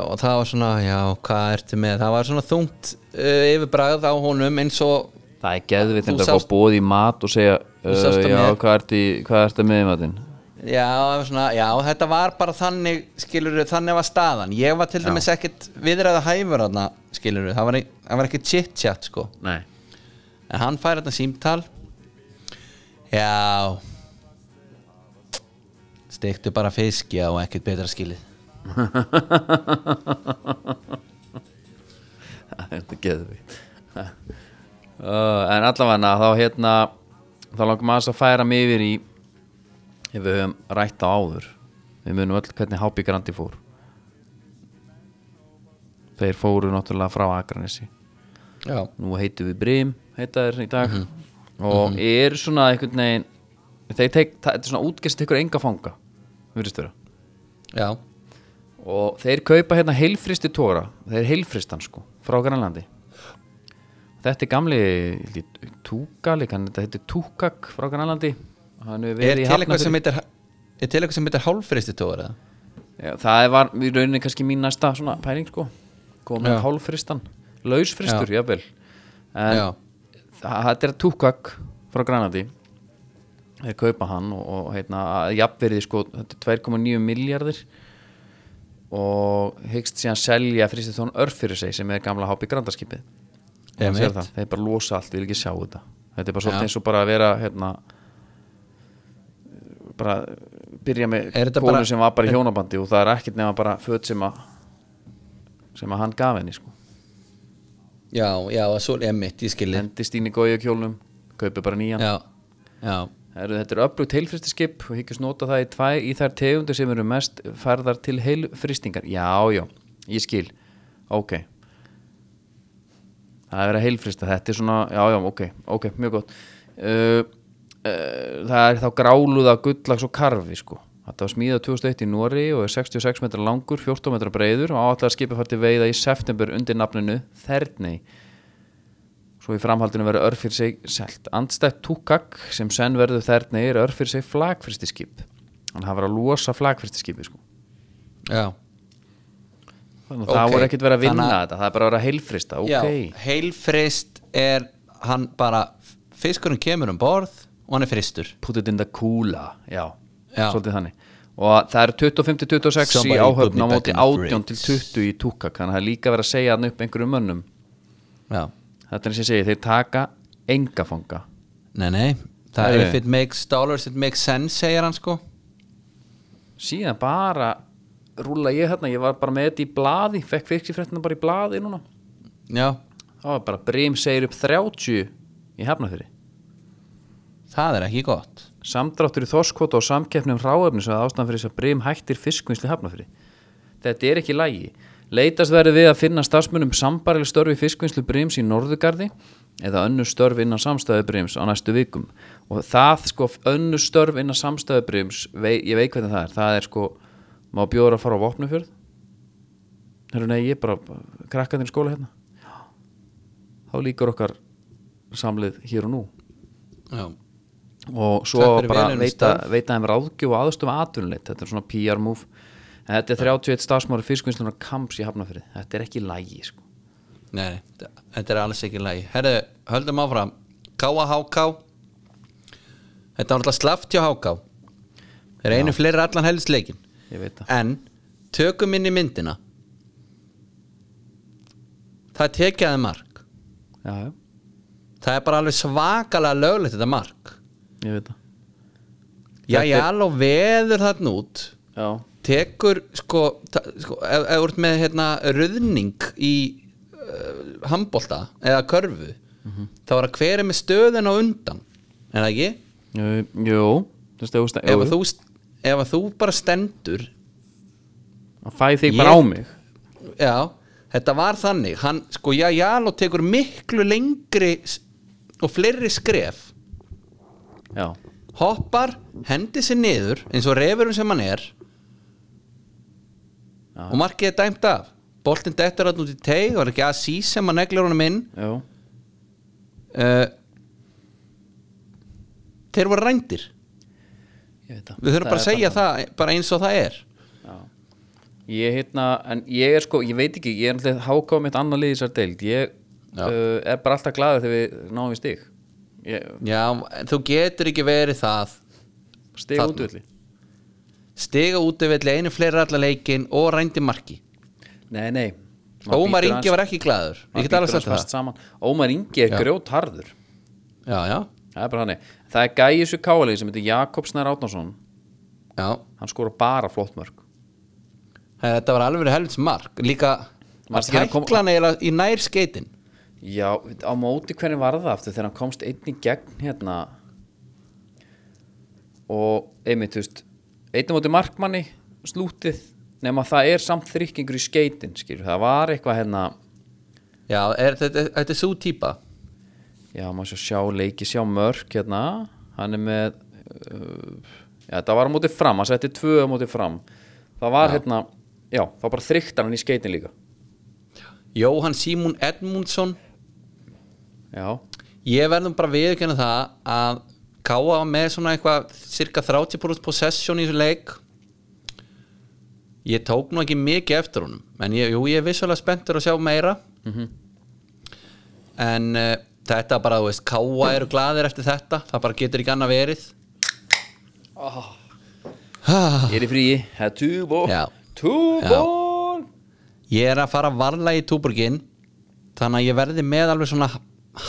Speaker 1: og það var svona já, hvað ertu með, það var svona þungt uh, yfirbragð á honum eins og
Speaker 2: það er geðvitt
Speaker 1: Þú
Speaker 2: að fá
Speaker 1: sást-
Speaker 2: bóð í mat og segja uh,
Speaker 1: sást það
Speaker 2: já,
Speaker 1: með-
Speaker 2: hvað ertu í- hvað ertu með í matinn?
Speaker 1: já, það var svona, já, þetta var bara þannig, skilur þannig var staðan ég var til dæmis ekkit viðræða hæfur þarna, skilur það var, e- það var ekkit chit-chat sko
Speaker 2: Nei
Speaker 1: En hann fær þetta símtal Já Stektu bara fisk Já, og ekkert betra skilið
Speaker 2: Þetta er geðvikt uh, En allavega þá hérna þá langar maður að færa mig yfir í ef við höfum rætt á áður við munum öll hvernig Hápi Grandi fór Þeir fóru náttúrulega frá Akranesi
Speaker 1: Já,
Speaker 2: Nú heitum við Brim heita þeir í dag
Speaker 1: Mhm.
Speaker 2: og er svona einhvern veginn þeir teik, það- þetta er svona útgest ykkur enga fanga virðist vera
Speaker 1: já,
Speaker 2: og þeir kaupa hérna heilfristi tóra þeir heilfristan sko, frá Grænlandi þetta er gamli lít- túka líka, en þetta heitir túkak frá Grænlandi hann
Speaker 1: Er
Speaker 2: hefur verið
Speaker 1: til
Speaker 2: í
Speaker 1: eitthvað
Speaker 2: hafnafyrir
Speaker 1: sem heitir Er til eitthvað sem heitir hálfristi tóra?
Speaker 2: það var í rauninni kannski mín næsta svona pæling sko, komið hálfristan lausfristur, jável en
Speaker 1: Já.
Speaker 2: það- þetta er túkak frá Grænlandi þeir kaupa hann og, og heitna, jafnverði sko, þetta er 2,9 miljardir og hyggst síðan selja fristithón örf fyrir sig sem er gamla hápi grandarskipið Og hann sér
Speaker 1: Einmitt.
Speaker 2: það, þeir bara losa allt, vil ekki sjá þetta þetta er bara
Speaker 1: Já.
Speaker 2: svolítið eins og bara að vera hérna, bara byrja með
Speaker 1: Er þetta
Speaker 2: konu
Speaker 1: bara-
Speaker 2: sem var bara í hjónabandi og það er ekkert nema bara föt sem að sem að hann gaf henni sko
Speaker 1: Já, já, að svo er mitt í skilið
Speaker 2: hendist inn í gója kjólnum, kaupi bara nýjan
Speaker 1: Já, já,
Speaker 2: Heru, þetta er öflugt heilfristiskip og higgjast nota það í, tvæ, í þær tegundir sem eru mest færðar til heilfristingar já, já, ég skil ok það er verið að heilfrista, þetta er svona já, já, ok, ok, mjög gott uh, uh, það er þá gráluða gullags og karfi sko Þetta var smíðað 2001 í Nóri og er 66 metra langur, 14 metra breiður og áallega skipið fætti veiða í september undir nafninu Þerney svo í framhaldinu verður örf fyrir sig selt. Andstætt Tukak sem senn verður þærni er örf fyrir sig flagfristiskip hann hafa verið að losa flagfristiskipi sko.
Speaker 1: já
Speaker 2: þannig að
Speaker 1: Ok,
Speaker 2: það voru ekkert verið að vinna
Speaker 1: þannig að-
Speaker 2: þetta það er bara að vera heilfrista, ok
Speaker 1: já Heilfrist er hann bara Fiskurinn kemur um borð og hann er fristur
Speaker 2: put it in the coola, já,
Speaker 1: Já.
Speaker 2: svolítið þannig og það eru 25-26 í
Speaker 1: Somebody put
Speaker 2: áhöfn
Speaker 1: me
Speaker 2: á
Speaker 1: back
Speaker 2: móti
Speaker 1: in the
Speaker 2: 18 til
Speaker 1: fridge.
Speaker 2: 20 í Tukak þannig að það er líka verið að segja hann upp einhverjum mönnum
Speaker 1: Já,
Speaker 2: þetta er eins og ég segi, þeir taka engafanga
Speaker 1: nei, nei Það
Speaker 2: Nei,
Speaker 1: er
Speaker 2: nei.
Speaker 1: if it makes dollars, it makes sense segir hann sko
Speaker 2: síðan bara rúla ég hérna, ég var bara með þetta í blaði fekk virkisfréttina bara í blaði núna
Speaker 1: Já,
Speaker 2: Það var bara Brim segir upp 30 í hefnafyrir.
Speaker 1: það er ekki gott
Speaker 2: Samdráttur í þorskvota og samkeppni um ráefni sem er ástæðan fyrir þess að Brim hættir fiskvinnslu í hefnafyrir. Þetta er ekki lægi. Leitast verður við að finna starfsmunum sambarileg störf í fiskvinnslu Brims í Norðugarði eða önnur störf innan samstæðu Brims á næstu vikum og það sko önnur störf innan samstæðu Brims vei, ég veit hvernig það er, það er sko má bjóður að fara á Vopnufjörð Hérna, nei, ég er bara krakkaðin í skóla hérna þá líkur okkar samlið hér og nú
Speaker 1: Já.
Speaker 2: og
Speaker 1: Takk
Speaker 2: svo
Speaker 1: fyrir
Speaker 2: bara
Speaker 1: velunum
Speaker 2: veita,
Speaker 1: starf.
Speaker 2: veita þeim ráðgjöf og aðstöfu aðtunleitt þetta er svona PR move En þetta er 31 starfsmári fiskvinnslunar kamps í Hafnafyrði þetta er ekki lægi sko.
Speaker 1: Nei, nei, þe- þetta er alls ekki lægi Herðu, höldum áfram KHK Þetta var alltaf slaft hjá HK Þeir eru einu fleiri allan helðisleikin
Speaker 2: ég veit það
Speaker 1: En, tökum inn í myndina Það er tekjaði mark
Speaker 2: já, já,
Speaker 1: Það er bara alveg svakalega löglegt þetta mark
Speaker 2: ég veit það
Speaker 1: Já,
Speaker 2: Þetta
Speaker 1: ég
Speaker 2: er-
Speaker 1: alveg veður þarna út
Speaker 2: já,
Speaker 1: Tekur, sko, ta- sko ef, ef þú ert með hérna röðning í uh, handbolta eða körfu
Speaker 2: Mhm.
Speaker 1: þá er að hver er með stöðin á undan en það ekki?
Speaker 2: jú, jú. Þú veist, ef þú sta-
Speaker 1: Ef
Speaker 2: jú,
Speaker 1: að þú, st- ef að þú bara stendur
Speaker 2: jú. fæ þig
Speaker 1: Ég-
Speaker 2: bara á mig
Speaker 1: Já, þetta var þannig hann, sko, já, Jaló tekur miklu lengri s- og fleiri skref
Speaker 2: já,
Speaker 1: hoppar, hendi sér niður eins og refurum sem hann er og
Speaker 2: Já.
Speaker 1: markið er dæmt af boltinn dettur hann út í teig og er ekki að sí sem hann neglir honum inn
Speaker 2: já,
Speaker 1: uh, þeir voru rændir
Speaker 2: ég veit það
Speaker 1: við þurfum
Speaker 2: Það
Speaker 1: bara að
Speaker 2: er
Speaker 1: segja það, bara eins og það er
Speaker 2: Já. Ég hérna, en ég er sko, ég veit ekki, ég er náttúrulega hákáð mitt annað lið í þessar deild Ég
Speaker 1: Já.
Speaker 2: uh, er bara alltaf glaður þegar við náum við stig ég,
Speaker 1: já, en þú getur ekki verið það
Speaker 2: Stig
Speaker 1: Þarna.
Speaker 2: útvillig
Speaker 1: stiga út ef við einu fleiri allar leikin og rændi marki
Speaker 2: Nei, nei
Speaker 1: Ómar Ingi var ekki glaður
Speaker 2: maður
Speaker 1: ég get alveg
Speaker 2: bítur
Speaker 1: sagt
Speaker 2: aðeins fast
Speaker 1: það
Speaker 2: saman. Ómar Ingi er
Speaker 1: Já.
Speaker 2: grjótharður
Speaker 1: já, já,
Speaker 2: Það er bara hannig Það er gæi svo káalegi sem heitir Jakob Snær Átnason
Speaker 1: já
Speaker 2: Hann skora bara flott mörg
Speaker 1: þetta var alveg helvits mark líka
Speaker 2: Varstu ekki að koma-
Speaker 1: hæklan eiginlega í nær skeitin
Speaker 2: Já, á móti hvernig var það aftur þegar hann komst einn í gegn hérna og einmitt, þú veist einn á móti markmanni, slútið nema það er samt þrykkingur í skeitin skilur, það var eitthvað hérna
Speaker 1: já, er, þetta, þetta er svo típa
Speaker 2: já, maður svo sjá leiki, sjá mörk hérna, hann er með uh, já, það var á móti fram hann setti tvö á móti fram það var hérna, já, það var bara þryktar hann í skeitin líka
Speaker 1: Jóhann Símún Edmundsson
Speaker 2: já,
Speaker 1: ég verðum bara viðurkenna það að Káa var með svona eitthvað cirka 30% possession í þessu leik ég tók nú ekki mikið eftir honum en ég, jú, ég er vissulega spenntur að sjá meira en uh, þetta bara, þú veist, Káa eru glaðir eftir þetta, það bara getur ekki annað verið Ah.
Speaker 2: ég er í fríi það er túbó,
Speaker 1: Já.
Speaker 2: túbó
Speaker 1: ég er að fara varlega í túborgin þannig að ég verði með alveg svona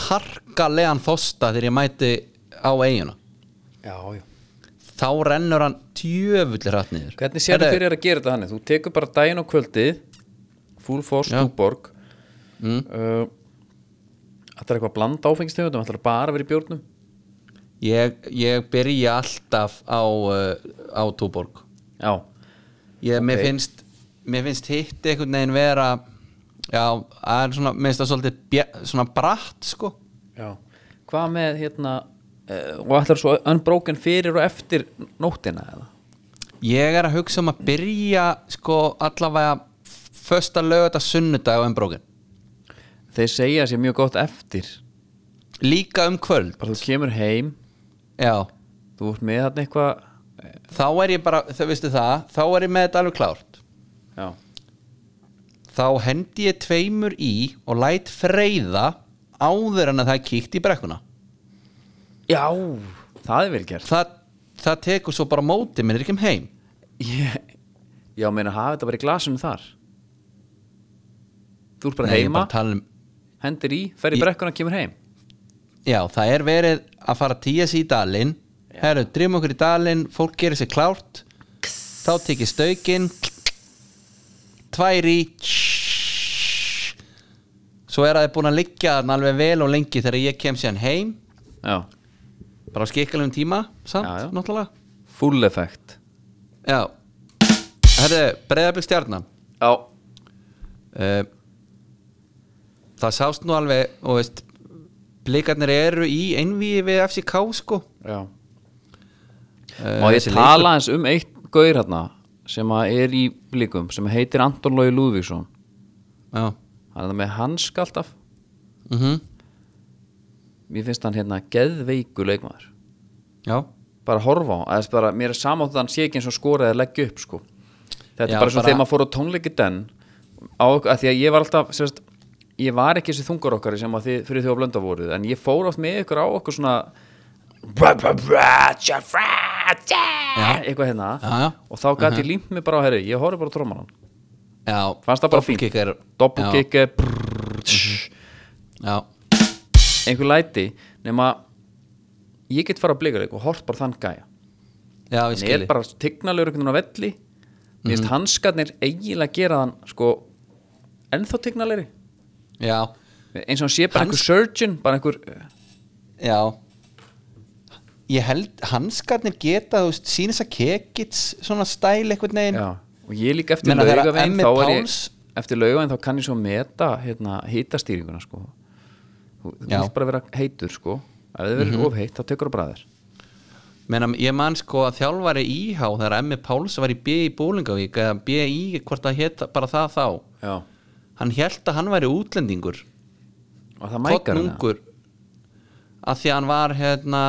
Speaker 1: harkalegan þosta þegar ég mæti á eiguna
Speaker 2: já, já
Speaker 1: þá rennur hann djöfullir hratt niður
Speaker 2: Hvernig sér
Speaker 1: Herðu,
Speaker 2: það fyrir þér að gera þetta þannig? Þú tekur bara daginn og kvöldið Full force,
Speaker 1: Já.
Speaker 2: Túborg mm. uh, Þetta er eitthvað bland áfengistegundum Þetta er bara að vera í bjórnum
Speaker 1: ég, ég byrja alltaf á, uh, á túborg
Speaker 2: Já,
Speaker 1: ég, mér,
Speaker 2: Ok.
Speaker 1: finnst, mér finnst hitt einhvern veginn vera já, það er svona, minnst það svolítið bje- svona bratt sko
Speaker 2: já Hvað með hérna uh, Og ætlar svo unbroken fyrir og eftir nóttina eða?
Speaker 1: ég er að hugsa um að byrja sko allavega fösta lögata sunnudag á embrókin
Speaker 2: Þeir segja sér mjög gott eftir
Speaker 1: líka um kvöld
Speaker 2: Bara þú kemur heim
Speaker 1: já
Speaker 2: Þú ert með þarna eitthvað
Speaker 1: þá er ég bara, þau veistu það þá er ég með þetta alveg klárt
Speaker 2: Já,
Speaker 1: þá hendi ég tveimur í og læt freyða áður en að það er kíkt í brekkuna
Speaker 2: já Það er vel gert
Speaker 1: það, það tekur svo bara móti minn er ekki um heim
Speaker 2: Ég- Já, meina hafa þetta bara í glasunum þar Þú ert bara
Speaker 1: Nei, ég er
Speaker 2: heima
Speaker 1: bara að tala um,
Speaker 2: hendir í, fer í
Speaker 1: Í-
Speaker 2: brekkuna, kemur heim
Speaker 1: já, það er verið að fara að tíja sig í dalinn herru, drifum okkur í dalinn, fólk gerir sér klárt þá tek ég staukin tvær í svo er að þið búin að liggja þarna alveg vel og lengi þegar ég kem síðan heim
Speaker 2: já.
Speaker 1: bara á skikkalegum tíma samt,
Speaker 2: Já, já.
Speaker 1: náttúrulega
Speaker 2: full effect
Speaker 1: já, herðu, breyðablik stjarnan
Speaker 2: já,
Speaker 1: uh, það sást nú alveg og veist blikarnir eru í einvíi við FCK sko
Speaker 2: Já. Eh,
Speaker 1: uh,
Speaker 2: Má ég tala eins um eitt gaur hérna sem að er í blikum sem heitir Anton Lói Lúðvíksson
Speaker 1: já,
Speaker 2: hann er það með hansk alltaf
Speaker 1: mm
Speaker 2: mér finnst hann hérna geðveiku leikmaður
Speaker 1: já
Speaker 2: bara horfa á, hann, eða bara, mér er samátt að hann sé ekki eins og skora eða leggja upp sko þetta
Speaker 1: Já,
Speaker 2: er bara svona
Speaker 1: bara-
Speaker 2: þegar maður fór á tónleiki den á, að því að ég var alltaf sérst, ég var ekki þessi þungar okkar sem að þið, fyrir því að blönda voruð, en ég fór oft með ykkur á okkur svona bra, bra, bra, tja, fra, tja, eitthvað hérna
Speaker 1: Já, Mhm. já.
Speaker 2: og þá gæti ég límt mig bara á herri, ég horfði bara á trómanan
Speaker 1: já,
Speaker 2: fannst það bara fínt
Speaker 1: doppelkicker.
Speaker 2: doppelkick er
Speaker 1: já, já,
Speaker 2: einhver læti nema ég get fara að blika og hort bara þann gæja
Speaker 1: já, ég
Speaker 2: hann er
Speaker 1: skilji
Speaker 2: bara tignalegur einhvern veginn á velli mér
Speaker 1: Mhm.
Speaker 2: finnst hanskarnir eiginlega gera hann sko ennþá tignalegri
Speaker 1: já,
Speaker 2: eins og hann sé bara
Speaker 1: Hans-
Speaker 2: einhver surgeon bara einhver
Speaker 1: já ég held hanskarnir geta þú veist, sínist að kekits svona stæl einhvern veginn
Speaker 2: já. og ég líka eftir
Speaker 1: Meina, þegar
Speaker 2: laugaveginn
Speaker 1: Emmett
Speaker 2: þá er ég
Speaker 1: Páls-
Speaker 2: eftir laugaveginn þá kann ég svo meta hérna hitastýringuna sko þú þú
Speaker 1: Já. Mhm.
Speaker 2: vilt bara vera heitur sko ef þið verður of heitt þá tekur það bara þér
Speaker 1: Menna, ég man sko að þjálfari íhá þegar Emmi Páls var í B í Búlingavík eða B í hvort það hétt bara það þá
Speaker 2: já.
Speaker 1: hann held að hann væri útlendingur
Speaker 2: og það mækar hann
Speaker 1: kottnungur að því að hann var hérna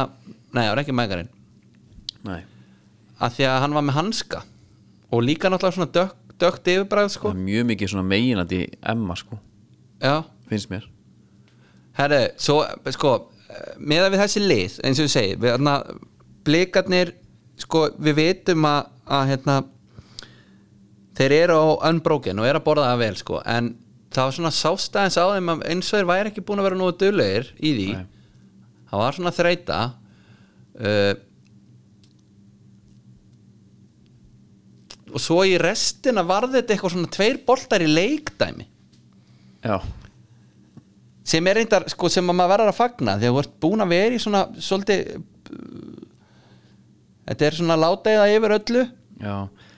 Speaker 1: nei, það var ekki mækarinn
Speaker 2: eða? Nei.
Speaker 1: að því að hann var með hanska og líka náttúrulega svona dökk, dökkt yfirbræð sko
Speaker 2: það er mjög mikið svona meginandi emma sko
Speaker 1: já,
Speaker 2: finnst mér
Speaker 1: herri, svo sko meða við þessi lið, eins og við segi við hérna, blikarnir sko, við vitum að, að hérna þeir eru á unbroken og eru að borða það vel sko en það var svona sástæðins á þeim að eins og þeir væri ekki búin að vera nógu duglegir í því
Speaker 2: Nei.
Speaker 1: það var svona þreita uh, og svo í restina varði þetta eitthvað svona tveir boltar í leikdæmi
Speaker 2: já
Speaker 1: sem er reyndar, sko, sem að maður verður að fagna þegar þú ert búin að vera í svona svolítið þetta er svona láteiða yfir öllu
Speaker 2: Já,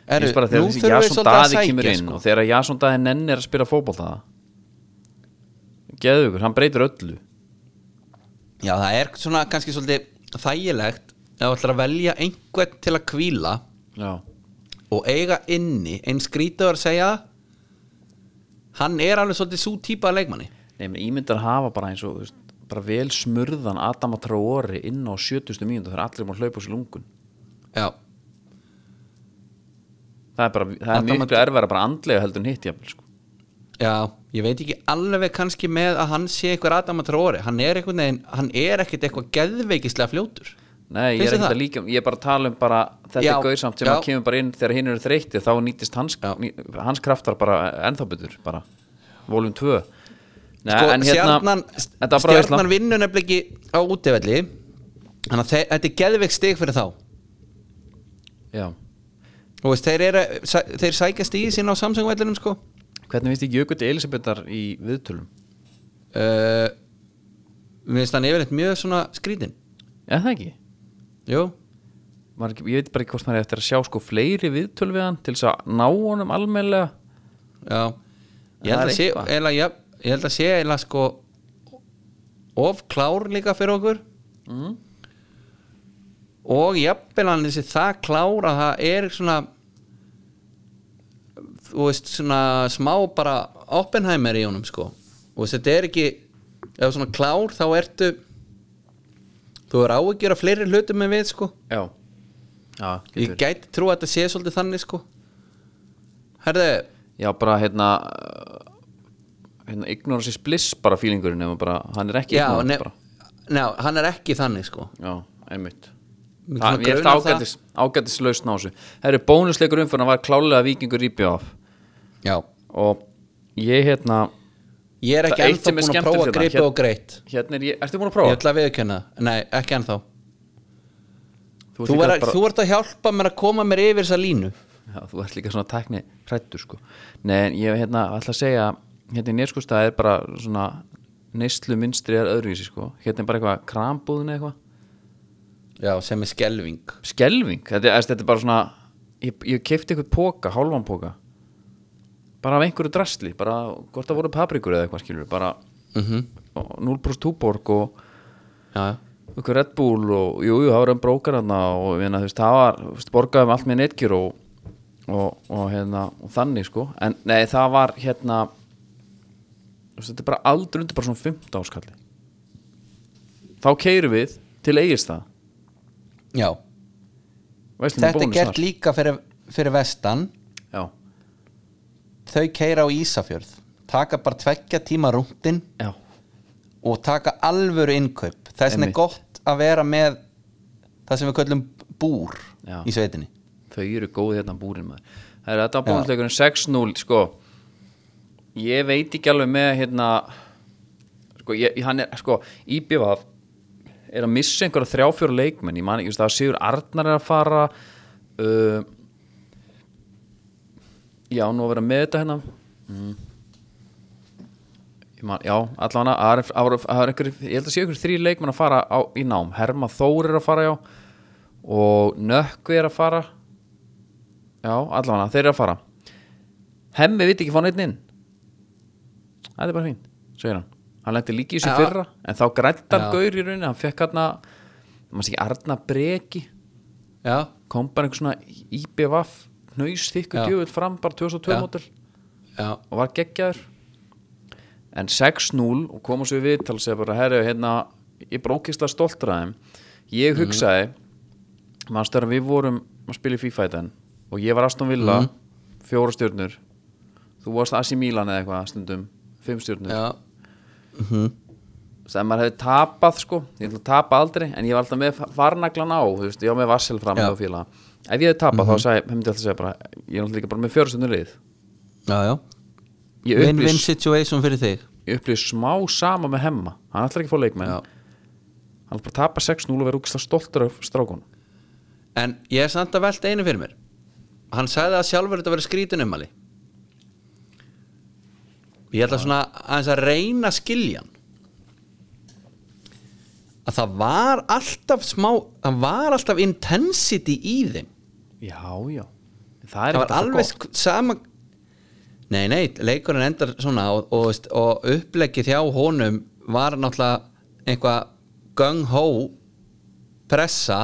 Speaker 1: Eru,
Speaker 2: Eru, bara
Speaker 1: nú
Speaker 2: þegar þessi
Speaker 1: þurfum við
Speaker 2: Jason
Speaker 1: svolítið að
Speaker 2: Daði
Speaker 1: sækja,
Speaker 2: kemur inn
Speaker 1: sko.
Speaker 2: og þegar Jason Daði nennir að spila fótbolta Geðugur, hann breytir öllu
Speaker 1: já, það er svona kannski svolítið þægilegt ef þú ætlar að velja einhvern til að kvíla
Speaker 2: Já,
Speaker 1: og eiga inni eins grítur að segja það, hann er alveg svolítið svo típa að leikmanni
Speaker 2: nefnir ímyndar hafa bara eins og þú veist, bara vel smurðan Adam að tráori inn á 70. mínútu þegar allir múið að hlaupa úr sér lungun
Speaker 1: já,
Speaker 2: Það er bara, það er
Speaker 1: Adam
Speaker 2: miklu erfæra bara andlega heldur en hitt jafnvel sko.
Speaker 1: Já, ég veit ekki alveg kannski með að hann sé einhver Adam Traore, hann er einhvern veginn hann er ekkert eitthvað geðveikislega fljótur
Speaker 2: Nei, ég
Speaker 1: Finnst þér
Speaker 2: er ekki
Speaker 1: það?
Speaker 2: að líka, ég er bara að tala um bara þetta
Speaker 1: Já,
Speaker 2: er gauðsamt sem
Speaker 1: já.
Speaker 2: að kemur bara inn þegar hinn eru þreytti þá nýtist hans,
Speaker 1: Já.
Speaker 2: ný, hans kraftar bara ennþá betur, bara volum 2 Nei,
Speaker 1: sko,
Speaker 2: en hérna
Speaker 1: stjarnan,
Speaker 2: þetta var bara hérna. veisla.
Speaker 1: stjarnan vinnur nefnilega ekki á útivelli þannig að þe- þetta er geðveik stig fyrir þá
Speaker 2: Já,
Speaker 1: og veist, þeir, eru, sæ, þeir sækjast í sín á samsöngvellinum sko
Speaker 2: hvernig finnst þið Jökull Elisabetar í viðtölum?
Speaker 1: uh, Mér finnst hann yfirleitt mjög svona skrítin
Speaker 2: Er það ekki?
Speaker 1: Jú,
Speaker 2: Maður, ekki- ég veit bara ekki hvort maður er eftir að sjá sko fleiri viðtöl við hann til þess að ná honum almennilega
Speaker 1: já Ég
Speaker 2: En það
Speaker 1: held
Speaker 2: er
Speaker 1: að sé,
Speaker 2: eitthvað.
Speaker 1: eila, já, ég held að sé eila sko of klár líka fyrir okkur
Speaker 2: mm.
Speaker 1: og jafnvel hann þessi það klár að það er svona þú veist svona smá bara Oppenheimer í honum sko og þetta er ekki ef þú er svona klár þá ertu þú er áhyggjur af fleiri hlutum en við sko
Speaker 2: Já Já,
Speaker 1: ég
Speaker 2: getur.
Speaker 1: gæti trú að þetta sé svolítið þannig sko herðu
Speaker 2: Já, bara hérna uh, hérna ignorance is bliss bara fílingurinn ef bara, hann er ekki
Speaker 1: já,
Speaker 2: ignorant
Speaker 1: ne,
Speaker 2: bara.
Speaker 1: ná, hann er ekki þannig sko
Speaker 2: Já, einmitt
Speaker 1: Mig
Speaker 2: Það,
Speaker 1: svona
Speaker 2: ég er
Speaker 1: grunar það.
Speaker 2: ágætis, ágætis lausn á þessu Það eru bónusleikur umfyrna var klálega vikingur í bjóf
Speaker 1: já.
Speaker 2: og ég hérna
Speaker 1: ég er
Speaker 2: Það
Speaker 1: ekki ennþá
Speaker 2: eitt sem er
Speaker 1: búin að
Speaker 2: skemmtilegt
Speaker 1: prófa
Speaker 2: hérna,
Speaker 1: gripi
Speaker 2: hér-
Speaker 1: og greitt
Speaker 2: hérna er ég, ertu búin að
Speaker 1: ég
Speaker 2: prófa?
Speaker 1: ætla að viðkjöna, nei ekki ennþá
Speaker 2: þú, ert
Speaker 1: þú,
Speaker 2: líka
Speaker 1: var, þú ert að hjálpa mér að koma mér yfir þessa línu
Speaker 2: Já, þú ert líka svona tækni hrættur sko. Nei, en ég hérna, ætla að segja hérna í nýrskústa er bara svona neyslu minnstri er öðruvísi sko. hérna er bara eitthvað krambúðin eitthvað
Speaker 1: Já, sem er skelving
Speaker 2: skelving, þetta, er- þetta er bara svona ég, ég kefti eitthvað póka, hálfan póka bara af einhverju drasli bara hvort það voru paprikur eða eitthvað skilur bara
Speaker 1: mm -hmm.
Speaker 2: og 0% túborg og
Speaker 1: já, já.
Speaker 2: einhver Red Bull og jú, jú, það voru um brókar hérna og ég meina, þú veist, það var, þú veist, borgaðum allt með netgjur og, og, og hérna, og þannig sko, en nei, það var hérna, þú veist, þetta er bara aldrei undir bara svona 15 áskalli þá keirum við til eigist það,
Speaker 1: já.
Speaker 2: veist,
Speaker 1: þetta er gert líka fyrir, fyrir vestan
Speaker 2: Já,
Speaker 1: þau keira á Ísafjörð taka bara tveggja tíma rúntinn
Speaker 2: já,
Speaker 1: og taka alvöru innkaup það er svona
Speaker 2: Einmitt.
Speaker 1: gott að vera með það sem við köllum búr
Speaker 2: Já.
Speaker 1: í sveitinni
Speaker 2: þau eru góð hérna búrin maður Það er þetta
Speaker 1: Já.
Speaker 2: búinleikurinn 6-0 sko ég veit ekki alveg með hérna sko, ég, hann er sko Íbjöfaf er að missa einhverja þrjá-fjóra leikmenn ég man ekki, þú veist, það Sigur Arnar er að fara uh, já, nú að vera með þetta hérna mm. ég man, já, allavega það er- það voru- það er einhver, ég held að sé einhver þrý leikmenn að fara á, í nám, Herma Þór er að fara já, og Nökkvi er að fara já, allavega, þeir eru að fara Hemmi vitt ekki fá neitt inn það er bara fín segir hann, hann lendi líki í þessu
Speaker 1: Já.
Speaker 2: fyrra en þá grættar
Speaker 1: Já.
Speaker 2: gaur í rauninni hann fekk hann að, maður sé ekki, Arna Breki
Speaker 1: já,
Speaker 2: kom bara einhver svona IBVF nöys þykku
Speaker 1: Já.
Speaker 2: djöfull fram bara 2002
Speaker 1: Já.
Speaker 2: mótil
Speaker 1: já,
Speaker 2: og var geggjaður en 6-0 og kom svo í viðtal og segja bara, herru, hérna ég brókist að stoltraðum ég
Speaker 1: Mhm.
Speaker 2: hugsaði mm. mannstur að við vorum að spila í FIFA í den og ég var Aston Villa
Speaker 1: Mhm.
Speaker 2: fjóra stjörnur þú varst AC Milan eða eitthvað stundum fimm stjörnur
Speaker 1: já,
Speaker 2: sem maður hefði tapað sko ég ætla að tapa aldrei en ég var alltaf með varnaglan á þú veist, ég var með vassel fram
Speaker 1: Já. Mhm.
Speaker 2: með fíla ef ég hefði tapað þá sagði, hefði alltaf að segja bara ég er alltaf líka bara með fjórstundur lið
Speaker 1: já, já.
Speaker 2: ég
Speaker 1: win-win
Speaker 2: upplýst
Speaker 1: situation fyrir þig
Speaker 2: upplýs smá sama með hemma hann ætlar ekki að fá leikmenn
Speaker 1: Já.
Speaker 2: hann ætlar bara að tapa 6-0 og vera úkislega stoltur af strákunum
Speaker 1: en ég er samt að velta einu fyrir mér hann sagði að sjálfur þetta verið skrítin ummali ég ætla svona aðeins að reyna að skilja hann að það var alltaf smá það var alltaf intensity í þeim
Speaker 2: já, já það er
Speaker 1: það
Speaker 2: ekkert
Speaker 1: var
Speaker 2: alltaf
Speaker 1: alveg
Speaker 2: gott.
Speaker 1: sk- sama nei, nei, leikurinn endar svona og, og, veist, og uppleggi þjá honum var náttúrulega einhvað gung-ho pressa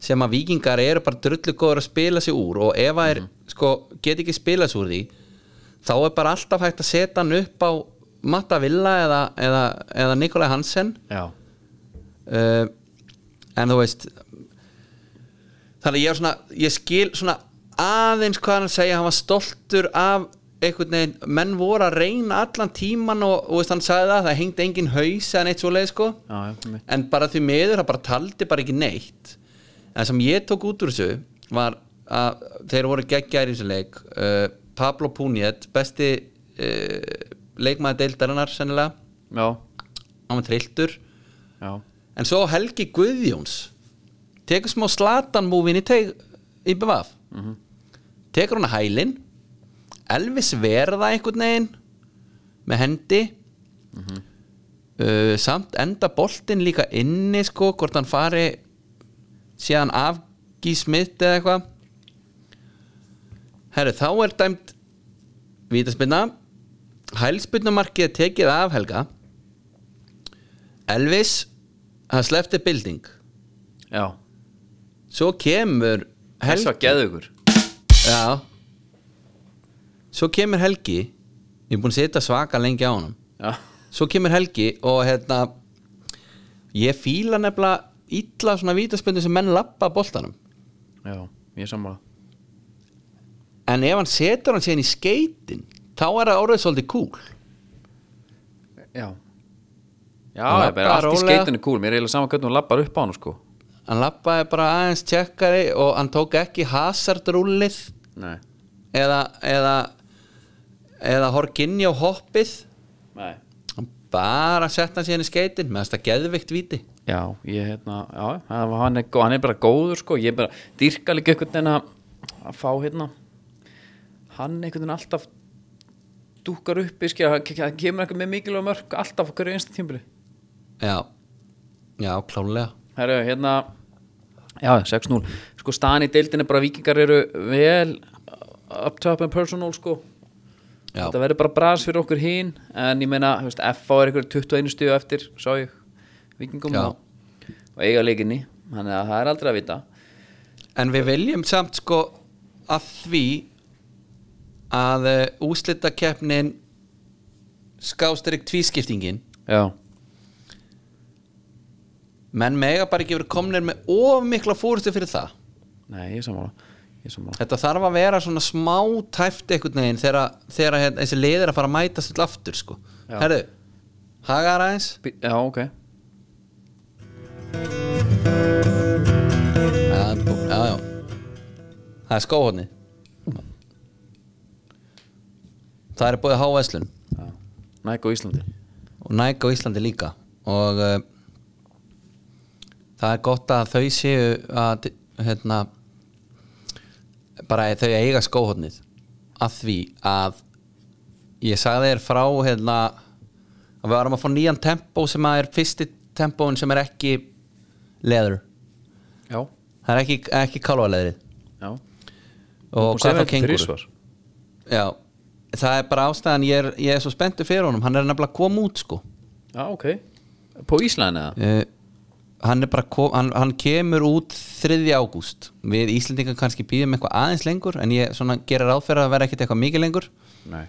Speaker 1: sem að vikingar eru bara drullu góður að spila sig úr og ef
Speaker 2: Mhm.
Speaker 1: það er, sko, get ekki spila sig úr því þá er bara alltaf hægt að setja hann upp á Matta Villa eða, eða, eða Nikolai Hansen
Speaker 2: já,
Speaker 1: uh, en þú veist þannig að ég, er svona, ég skil svona aðeins hvað hann er að segja hann var stoltur af einhvern veginn, menn voru að reyna allan tíman og, og veist, hann sagði það, það hengdi engin haus eða neitt svoleið sko
Speaker 2: já, já, einmitt.
Speaker 1: en bara því miður, það bara taldi bara ekki neitt en sem ég tók út úr þessu var að þeir voru geggjæri í þessu leik uh, Pablo Puniet, besti uh, leikmaði deildarinnar sennilega,
Speaker 2: já,
Speaker 1: hann var trilltur
Speaker 2: já,
Speaker 1: En svo Helgi Guðjóns tekur smá slatan múvin í, teig- í bevaf tekur hann að hælin Elvis verða einhvern veginn með hendi uh, samt enda boltinn líka inni sko hvort hann fari síðan af G. Smith eða eitthvað Herru, þá er dæmt vítaspinna hælspinnumarkið er tekið af Helga Elvis hann sleppti bilding
Speaker 2: já.
Speaker 1: svo kemur
Speaker 2: þess var
Speaker 1: Helgi
Speaker 2: geðugur
Speaker 1: já, svo kemur Helgi ég er búin að setja svaka lengi á honum
Speaker 2: já,
Speaker 1: svo kemur Helgi og hérna ég fíla nefnilega illa svona vítaspöndu sem menn lappa boltanum
Speaker 2: já, ég er sammála
Speaker 1: en ef hann setur hann síðan í skeitin þá er það orðið svolítið cool
Speaker 2: já já,
Speaker 1: Hann
Speaker 2: ég bara
Speaker 1: labbar
Speaker 2: allt í
Speaker 1: rólega.
Speaker 2: skeitinu kúl mér er eiginlega saman hvernig hún lappar upp á hann sko
Speaker 1: hann lappaði bara aðeins tjekkari og hann tók ekki hasardrúlið
Speaker 2: nei,
Speaker 1: eða eða, eða horkinja og hoppið
Speaker 2: nei
Speaker 1: Hann bara sett hann síðan í skeitin með þetta geðvikt víti
Speaker 2: Já, ég hérna, já, hann- hann er, gó- hann er bara góður sko, ég bara dýrka líka einhvern veginn að að fá hérna hann einhvern veginn alltaf dúkar upp í skilja, hann ke- hann kemur einhvern með mikilvæg mörg alltaf á hverju einsta tímbili
Speaker 1: já, já, klálega
Speaker 2: Herru, hérna já, 6-0, sko staðan í deildin er bara vikingar eru vel up top and personal sko
Speaker 1: Já.
Speaker 2: þetta verður bara bras fyrir okkur hinn en ég meina, þú veist, FH er ykkur 21 stíu eftir, sá ég vikingum
Speaker 1: Já.
Speaker 2: og, og eiga leikinni þannig að það er aldrei að vita
Speaker 1: En við viljum samt sko að því að eh, úslita keppnin skástrík tvískiptingin
Speaker 2: já,
Speaker 1: menn mega bara ekki verið komnir með of mikla fórustu fyrir það
Speaker 2: nei, ég er sammála ég er sammála,
Speaker 1: Þetta þarf að vera svona smá tæft einhvern veginn þegar, þegar hérna, þessi leiðir að fara að mætast til aftur sko.
Speaker 2: Já.
Speaker 1: Herðu, hagar aðeins
Speaker 2: Bí- já, ok
Speaker 1: Já, bú- já, já Það er hérna. skóhóðni Það er búið háveslun
Speaker 2: já. næg á Íslandi
Speaker 1: og Nike á Íslandi líka og uh, það er gott að þau séu að hérna bara að þau eiga skóhóðnið að því að ég sagði þér frá hérna að við varum að fá nýjan tempó sem að er fyrsti tempóin sem er ekki leður
Speaker 2: já,
Speaker 1: það er ekki, ekki kálvaleðrið
Speaker 2: já
Speaker 1: og
Speaker 2: Hún
Speaker 1: hvað
Speaker 2: sagði
Speaker 1: þá
Speaker 2: þetta
Speaker 1: kenguru
Speaker 2: þrisvar.
Speaker 1: Já, það er bara ástæðan ég er, ég er svo spenntu fyrir honum, hann er nefnilega að koma út sko
Speaker 2: já, ok på Íslandi eða?
Speaker 1: uh, hann er bara kom, hann, hann kemur út 3. ágúst við Íslendingar kannski býðum eitthvað aðeins lengur en ég svona gerir áfæra að vera ekkit eitthvað mikið lengur
Speaker 2: nei,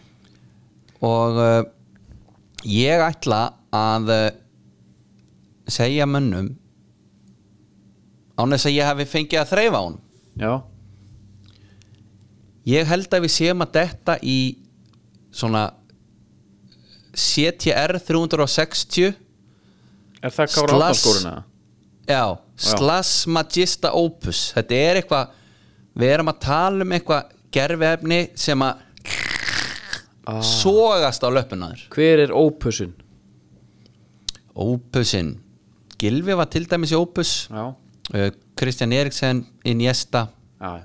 Speaker 1: og uh, ég ætla að uh, segja mönnum án þess að ég hafi fengið að þreifa á honum
Speaker 2: já,
Speaker 1: Ég held að við séum að detta í svona CTR 360
Speaker 2: er það Kára
Speaker 1: Slass.
Speaker 2: Átnarskóruna
Speaker 1: já, Slash Magista Opus þetta er eitthvað við erum að tala um eitthvað gerfiefni sem að sogast á löpunar
Speaker 2: hver er ópussin
Speaker 1: Opusinn Gilvi var til dæmis í Opus
Speaker 2: já,
Speaker 1: uh, Kristján Eriksen, Iniesta
Speaker 2: já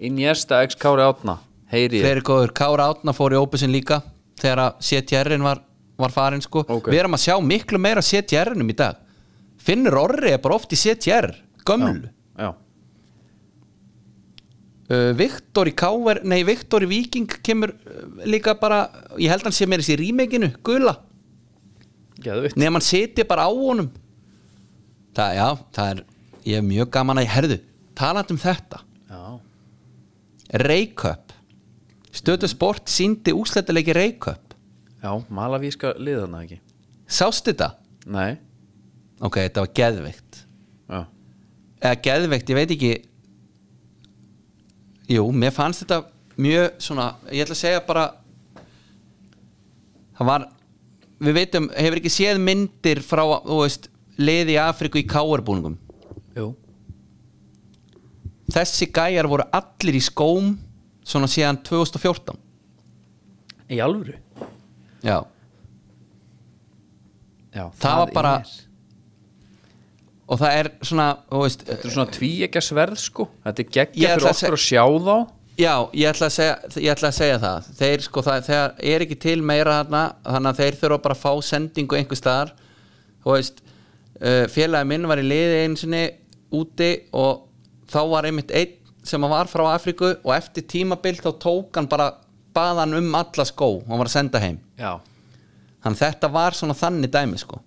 Speaker 2: Iniesta x Kári Átna heyri ég
Speaker 1: fleiri góður, Kára Átna fór í Opusinn líka þegar að CTR-in var, var farin sko,
Speaker 2: Ok.
Speaker 1: við erum að sjá miklu meira CTR-inum í dag Finnur Orri er bara oft í CTR gömlu,
Speaker 2: já,
Speaker 1: uh, Viktor í Káver nei, Viktor í Viking kemur uh, líka bara, ég held hann sé meira í rímeginu, gula,
Speaker 2: geðu vitt
Speaker 1: nefn hann seti bara á honum það, já, það er ég er mjög gaman að ég herðu talandi um þetta,
Speaker 2: já,
Speaker 1: Reykjöp Stötu Sport síndi úsletalegi Reykjöp
Speaker 2: já, malavíska liðana ekki
Speaker 1: Sástu þetta?
Speaker 2: nei,
Speaker 1: ok, þetta var geðveikt
Speaker 2: já,
Speaker 1: eða geðveikt, ég veit ekki jú, mér fannst þetta mjög svona, ég ætla að segja bara það var við veitum, hefur ekki séð myndir frá, þú veist, liði í Afriku í káarbúningum
Speaker 2: jú
Speaker 1: þessi gæjar voru allir í skóm svona síðan 2014
Speaker 2: í alvöru
Speaker 1: já,
Speaker 2: já,
Speaker 1: var bara-
Speaker 2: er-
Speaker 1: og það er svona, þú veist
Speaker 2: þetta er svona tví ekki að sverð sko þetta er geggja
Speaker 1: Ég
Speaker 2: fyrir
Speaker 1: ætla að
Speaker 2: okkur að sjá þá
Speaker 1: Já, ég ætla að segja, ég ætla að segja það þeir sko, það, þegar er ekki til meira þarna, þannig að þeir þurfa bara að fá sendingu einhver staðar þú veist, uh, félagi minn var í liði einu sinni úti og þá var einmitt einn sem var frá Afríku og eftir tímabil þá tók hann bara baðan um alla skó og var að senda heim
Speaker 2: já,
Speaker 1: þannig þetta var svona þannig dæmi sko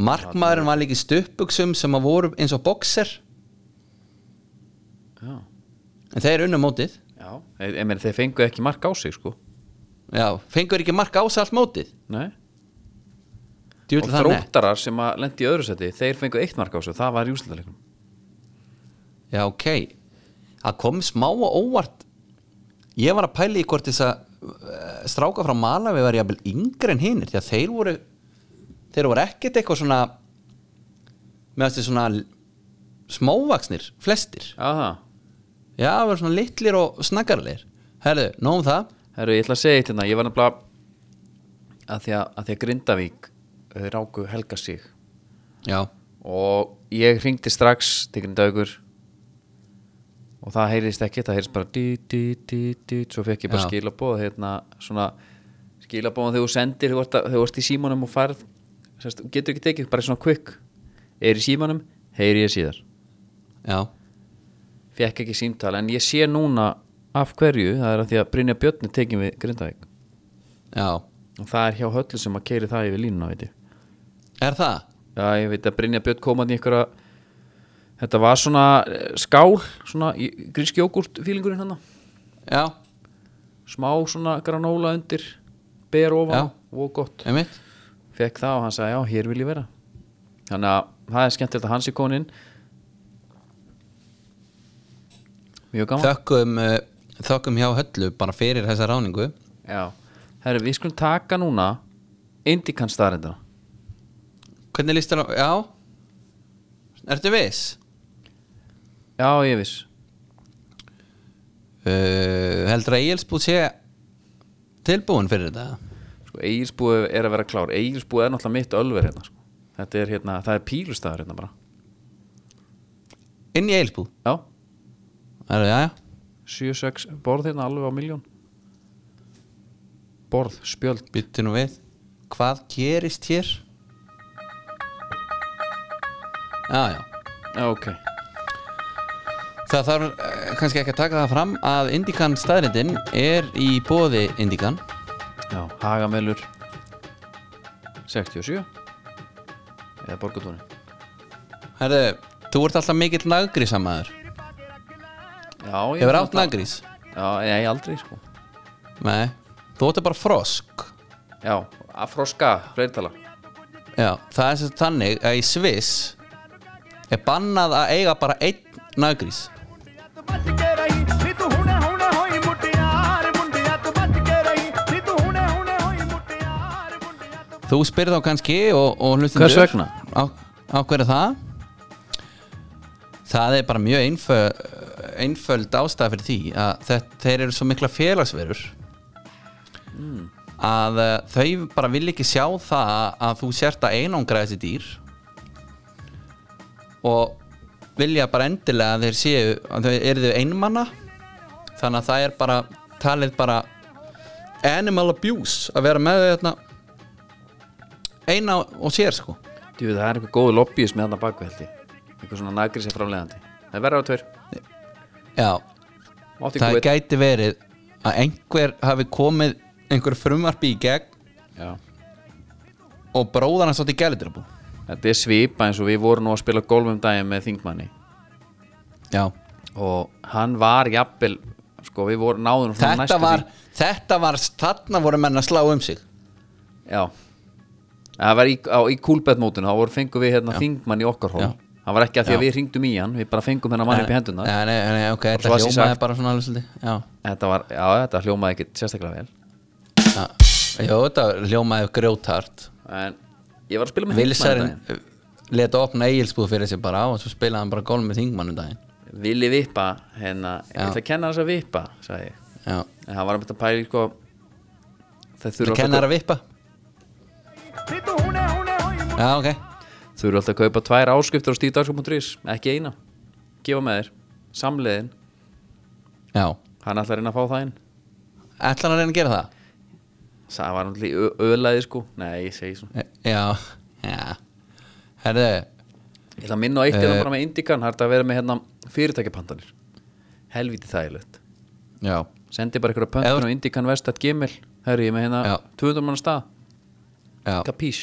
Speaker 1: markmaðurinn var líka í stuppuksum sem að voru eins og bokser
Speaker 2: já,
Speaker 1: en þeir unnu mótið
Speaker 2: já ég, ég meina þeir fengu ekki mark á sig sko
Speaker 1: Já, fengur ekki mark á sig allt mótið
Speaker 2: nei
Speaker 1: Djúl,
Speaker 2: og
Speaker 1: það er nett.
Speaker 2: þróttarar sem að lendi í öðru seti þeir fengu eitt mark á sig, það var í úslitaleikum
Speaker 1: Já, ok Það kom smá og óvart Ég var að pæla í hvort þess að eh, stráka frá Malavi var jafnvel yngri en hinir því að þeir voru þeir voru ekkert eitthvað svona meðast þið svona l- smávaxnir, flestir
Speaker 2: já, það
Speaker 1: Já, það voru svona litlir og snaggarlegir Herðu, nóg um það
Speaker 2: Herru, ég ætla að segja eitt hérna, ég var nefnilega að því að, að því að Grindavík eh, ráku helga sig
Speaker 1: Já,
Speaker 2: og ég hringdi strax til Grindavíkur og það heyrðist ekki, það heyrðist bara dí, dí, dí, dí, svo fekk ég bara
Speaker 1: Já.
Speaker 2: skilabóð hérna, svona skilabóðan þegar þú sendir, þegar þú ert að- þegar þú ert í símanum og farð, sérst, getur ekki tekið bara svona quick, er í símanum heyri ég síðar,
Speaker 1: já,
Speaker 2: fekk ekki símtal en ég sé núna af hverju, það er að því að Brynja Björn er tekin við Grindavík
Speaker 1: Já,
Speaker 2: og það er hjá höllu sem að keiri það yfir línuna veit ég.
Speaker 1: er það?
Speaker 2: Já, ég veit að Brynja Björn komandi í einhverja þetta var svona eh, skál, svona í- gríski jógurt fílingurinn hann
Speaker 1: Já,
Speaker 2: smá svona granóla undir ber ofan,
Speaker 1: Já.
Speaker 2: og gott
Speaker 1: einmitt
Speaker 2: fekk það og hann sagði já, hér vil ég vera þannig að það er skemmtilegt að hans í konin mjög gaman
Speaker 1: Þökkum, eh, þökkum hjá höllu bara fyrir þessa ráningu
Speaker 2: já, herru, við skulum taka núna Indikan staðarindina
Speaker 1: Hvernig líst þér á, já Ertu viss?
Speaker 2: já, ég er viss,
Speaker 1: Uh, heldur að Egilsbúð sé tilbúin fyrir þetta?
Speaker 2: sko, Egilsbúi er að vera klár Egilsbúi er náttúrulega mitt ölver hérna sko. þetta er hérna, það er pílustaður hérna bara
Speaker 1: Inn í Egilsbúð?
Speaker 2: já,
Speaker 1: Er, já, já
Speaker 2: 7-6 borð hérna alveg á miljón borð, spjöld
Speaker 1: Byttu nú við Hvað gerist hér? Já, já
Speaker 2: já, ok,
Speaker 1: Það þarf eh, kannski ekki að taka það fram að Indikan staðrindin er í bóði Indikan
Speaker 2: já, hagamelur 67 eða borgatúni
Speaker 1: Herðu, þú ert alltaf mikill naggrísamaður
Speaker 2: já, ég
Speaker 1: Hefur átt naggrís?
Speaker 2: já, nei, aldrei sko
Speaker 1: Nei, þú áttu bara frosk
Speaker 2: já, að froska, fleirtala
Speaker 1: Já, það er sem sagt þannig að í Sviss er bannað að eiga bara einn naggrís
Speaker 5: बच के रही नी तू हुने हुने होई मुटियार मुंडिया तू बच के रही नी तू हुने हुने होई मुटियार मुंडिया तू
Speaker 1: Þú spyrir þá kannski og, og hlustum
Speaker 2: Hvers vegna?
Speaker 1: Á, á hverju það? Það er bara mjög einfö, einföld ástæða fyrir því að þetta, þeir eru svo mikla félagsverur að eh, þau bara vil ekki sjá það að þú sért að einangra þessi dýr og vilja bara endilega að þeir séu að þau eru þau einmana þannig að það er bara talið bara animal abuse að vera með þau hérna. þarna eina og sér sko
Speaker 2: Djú, það er eitthvað góð lobbyist með þarna bakvið held ég eitthvað svona nagrisja framlegandi það er verður á tveir,
Speaker 1: já,
Speaker 2: mátti
Speaker 1: það
Speaker 2: ekki veit
Speaker 1: gæti verið að einhver hafi komið einhver frumvarpi í gegn
Speaker 2: já
Speaker 1: og bróðan hans átti gælitrabú
Speaker 2: Þetta er svipa eins og við vorum nú að spila golf um daginn með Þingmanni
Speaker 1: já,
Speaker 2: og hann var jafnvel sko við vorum náðum
Speaker 1: þetta var þetta var, þarna voru menn að slá um sig
Speaker 2: Já Það var í, á, í kúlbettmótinu þá voru fengum við hérna þingmann í okkar hól
Speaker 1: Já.
Speaker 2: Það var ekki að því að
Speaker 1: Já.
Speaker 2: við hringdum í hann Við bara fengum hennar mann upp í hendunar
Speaker 1: ja, nei, nei, ok, þetta
Speaker 2: svo að sé
Speaker 1: hljómaði
Speaker 2: sagt.
Speaker 1: bara svona alveg svolítið já,
Speaker 2: Þetta var, já þetta hljómaði ekki sérstaklega vel
Speaker 1: já, já þetta hljómaði grjótart
Speaker 2: En ég var að
Speaker 1: um
Speaker 2: spila með
Speaker 1: Vilsarinn
Speaker 2: þingmann
Speaker 1: leta opna eigilsbúð fyrir sér bara á og svo spilaði hann bara golf með þingmannum daginn
Speaker 2: þetta Vili vippa hérna Ég
Speaker 1: Já.
Speaker 2: ætla að kenna þess að vippa, sagði ég
Speaker 1: já,
Speaker 2: En hann var að byrja að pæla í sko Það þurfa
Speaker 1: þú
Speaker 2: alltaf
Speaker 1: kennar að vippa
Speaker 5: नी तू हुने हुने होई
Speaker 1: já, ok,
Speaker 2: Þú eru alltaf að kaupa tvær áskriftur á stíðdagskom.is ekki eina, gefa með þér samleiðin,
Speaker 1: já
Speaker 2: hann ætlar að reyna að fá það inn
Speaker 1: ætlar hann að reyna að gera það?
Speaker 2: það var náttúrulega öðlaði sko nei, ég segi svona,
Speaker 1: Já, já Herðu,
Speaker 2: ég ætla að minna á eitt
Speaker 1: Eh.
Speaker 2: eða bara með Indikan, það er að vera með hérna fyrirtækjapantanir, helvítið þægilegt
Speaker 1: já
Speaker 2: sendi bara einhverja
Speaker 1: Ef-
Speaker 2: pöntur á indikanvest.gmail herri, ég er með
Speaker 1: Já.
Speaker 2: hérna 200 manna stað
Speaker 1: Já,
Speaker 2: kapís,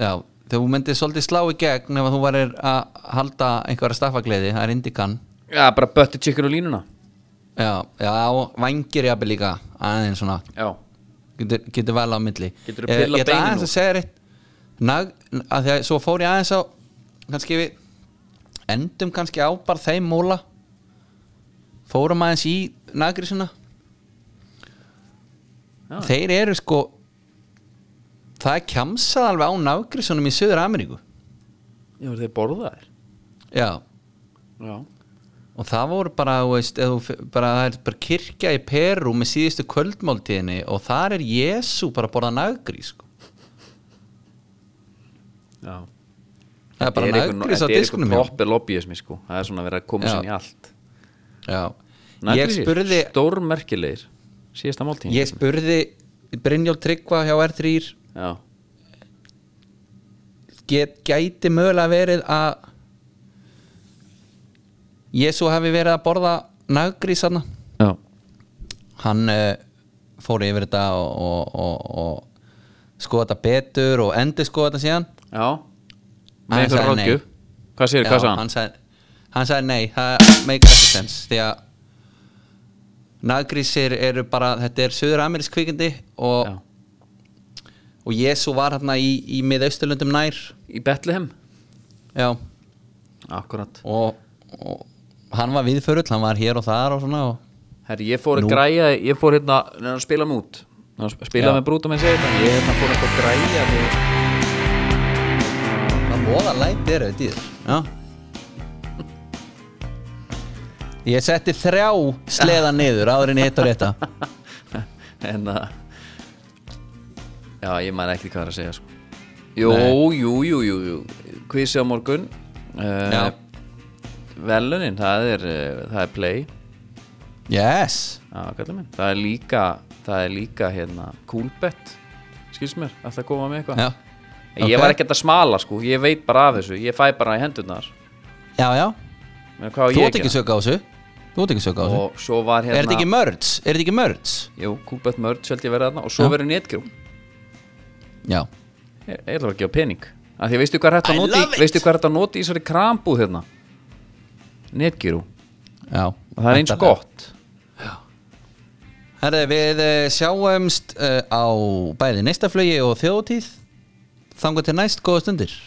Speaker 1: já Þú myndir svolítið slá í gegn ef að þú varir að halda einhverja staffagleði, það er indikan
Speaker 2: já, bara bötti chicken og línuna
Speaker 1: Já, já, og vængir jafnvel líka aðeins svona,
Speaker 2: já,
Speaker 1: getur, getur vel á milli
Speaker 2: Geturðu
Speaker 1: Eh,
Speaker 2: pillað
Speaker 1: Ég ætla
Speaker 2: beinin
Speaker 1: aðeins
Speaker 2: úr?
Speaker 1: að segja rétt Nag, að því að svo fór ég aðeins á kannski við endum kannski á bara þeim múla fórum aðeins í nagrisuna
Speaker 2: Já.
Speaker 1: þeir eru sko það er kjamsað alveg á nagrisunum í Suður Ameríku
Speaker 2: já, voru þeir borðaðir
Speaker 1: já
Speaker 2: já,
Speaker 1: og það voru bara, þú veist, eða þú f- bara, það er bara kirkja í Peru með síðustu kvöldmáltíðinni og þar er Jésu bara að borða naggrís sko.
Speaker 2: já
Speaker 1: það er bara
Speaker 2: Þetta einhver-
Speaker 1: naggrís á
Speaker 2: þetta er einhver
Speaker 1: diskunum hjá honum.
Speaker 2: proper lobbyismi sko, það er svona að vera að koma
Speaker 1: Já.
Speaker 2: sér í allt
Speaker 1: já, ég
Speaker 2: Nagrísir,
Speaker 1: spurði
Speaker 2: stórmerkilegir síðasta máltíðin
Speaker 1: ég spurði Brynjól Tryggva hjá R3
Speaker 2: já,
Speaker 1: get, gæti mögulega verið að Jésu hafi verið að borða naggrís hana
Speaker 2: já,
Speaker 1: hann uh, fór yfir þetta og, og, og, og skoða þetta betur og endi skoða þetta síðan
Speaker 2: Já
Speaker 1: Hann
Speaker 2: Með einhverja
Speaker 1: sagði nei.
Speaker 2: ráðgjöf Hvað sér, hvað sagði hann?
Speaker 1: hann sagði, hann sagði nei, það make sense því að nagrísir eru bara, þetta er söður-amerísk kvikindi og,
Speaker 2: Já.
Speaker 1: og Jésu var hérna í, í miðausturlöndum nær
Speaker 2: Í Bethlehem
Speaker 1: já,
Speaker 2: Akkurat
Speaker 1: og, og hann var viðförull, hann var hér og þar og svona og
Speaker 2: Herri, ég fór að græja Ég fór hérna Neðan að spila mút Neðan að spila
Speaker 1: Já.
Speaker 2: með brútum en segja þetta Ég hérna fór eitthvað að græja við-
Speaker 1: Það voða læt eru þetta í þér Já Ég setti þrjá sleða niður áður en ég hitt og rétta
Speaker 2: En að hérna- Já, ég man ekki hvað það er að segja sko. Jú,
Speaker 1: Nei.
Speaker 2: jú, jú, jú, jú Kvísi á morgun uh,
Speaker 1: Já.
Speaker 2: Velunin, það er, uh, það er play
Speaker 1: Yes
Speaker 2: Já, kallar minn Það er líka, það er líka hérna Coolbet, skils mér Alltaf að koma með eitthvað
Speaker 1: Já,
Speaker 2: En Ég
Speaker 1: ok.
Speaker 2: var ekkert að smala sko, ég veit bara af þessu Ég fæ bara í hendurnar
Speaker 1: já, já
Speaker 2: Men Hvað á
Speaker 1: Þú
Speaker 2: ég
Speaker 1: ert ekki
Speaker 2: gera?
Speaker 1: sög á þessu Þú ert ekki sög á þessu
Speaker 2: Og svo var
Speaker 1: Er
Speaker 2: hérna
Speaker 1: þetta ekki mörds? Er þetta ekki mörds?
Speaker 2: Jú, Coolbet mörd, sjöldi ég verið þarna Og svo
Speaker 1: Já.
Speaker 2: verður netgrú
Speaker 1: Já
Speaker 2: Ég ég ætla bara að gefa pening Af Því að veistu hvað er hægt að
Speaker 1: I
Speaker 2: nota
Speaker 1: love
Speaker 2: í
Speaker 1: it.
Speaker 2: Veistu hvað er hægt að nota í þessari krambúð hérna Netgíru Og
Speaker 1: Já
Speaker 2: það er eins gott
Speaker 1: Herri, við eh, sjáumst uh, á bæði neistaflögi og þjóðtíð Þangar til næst, góða stundir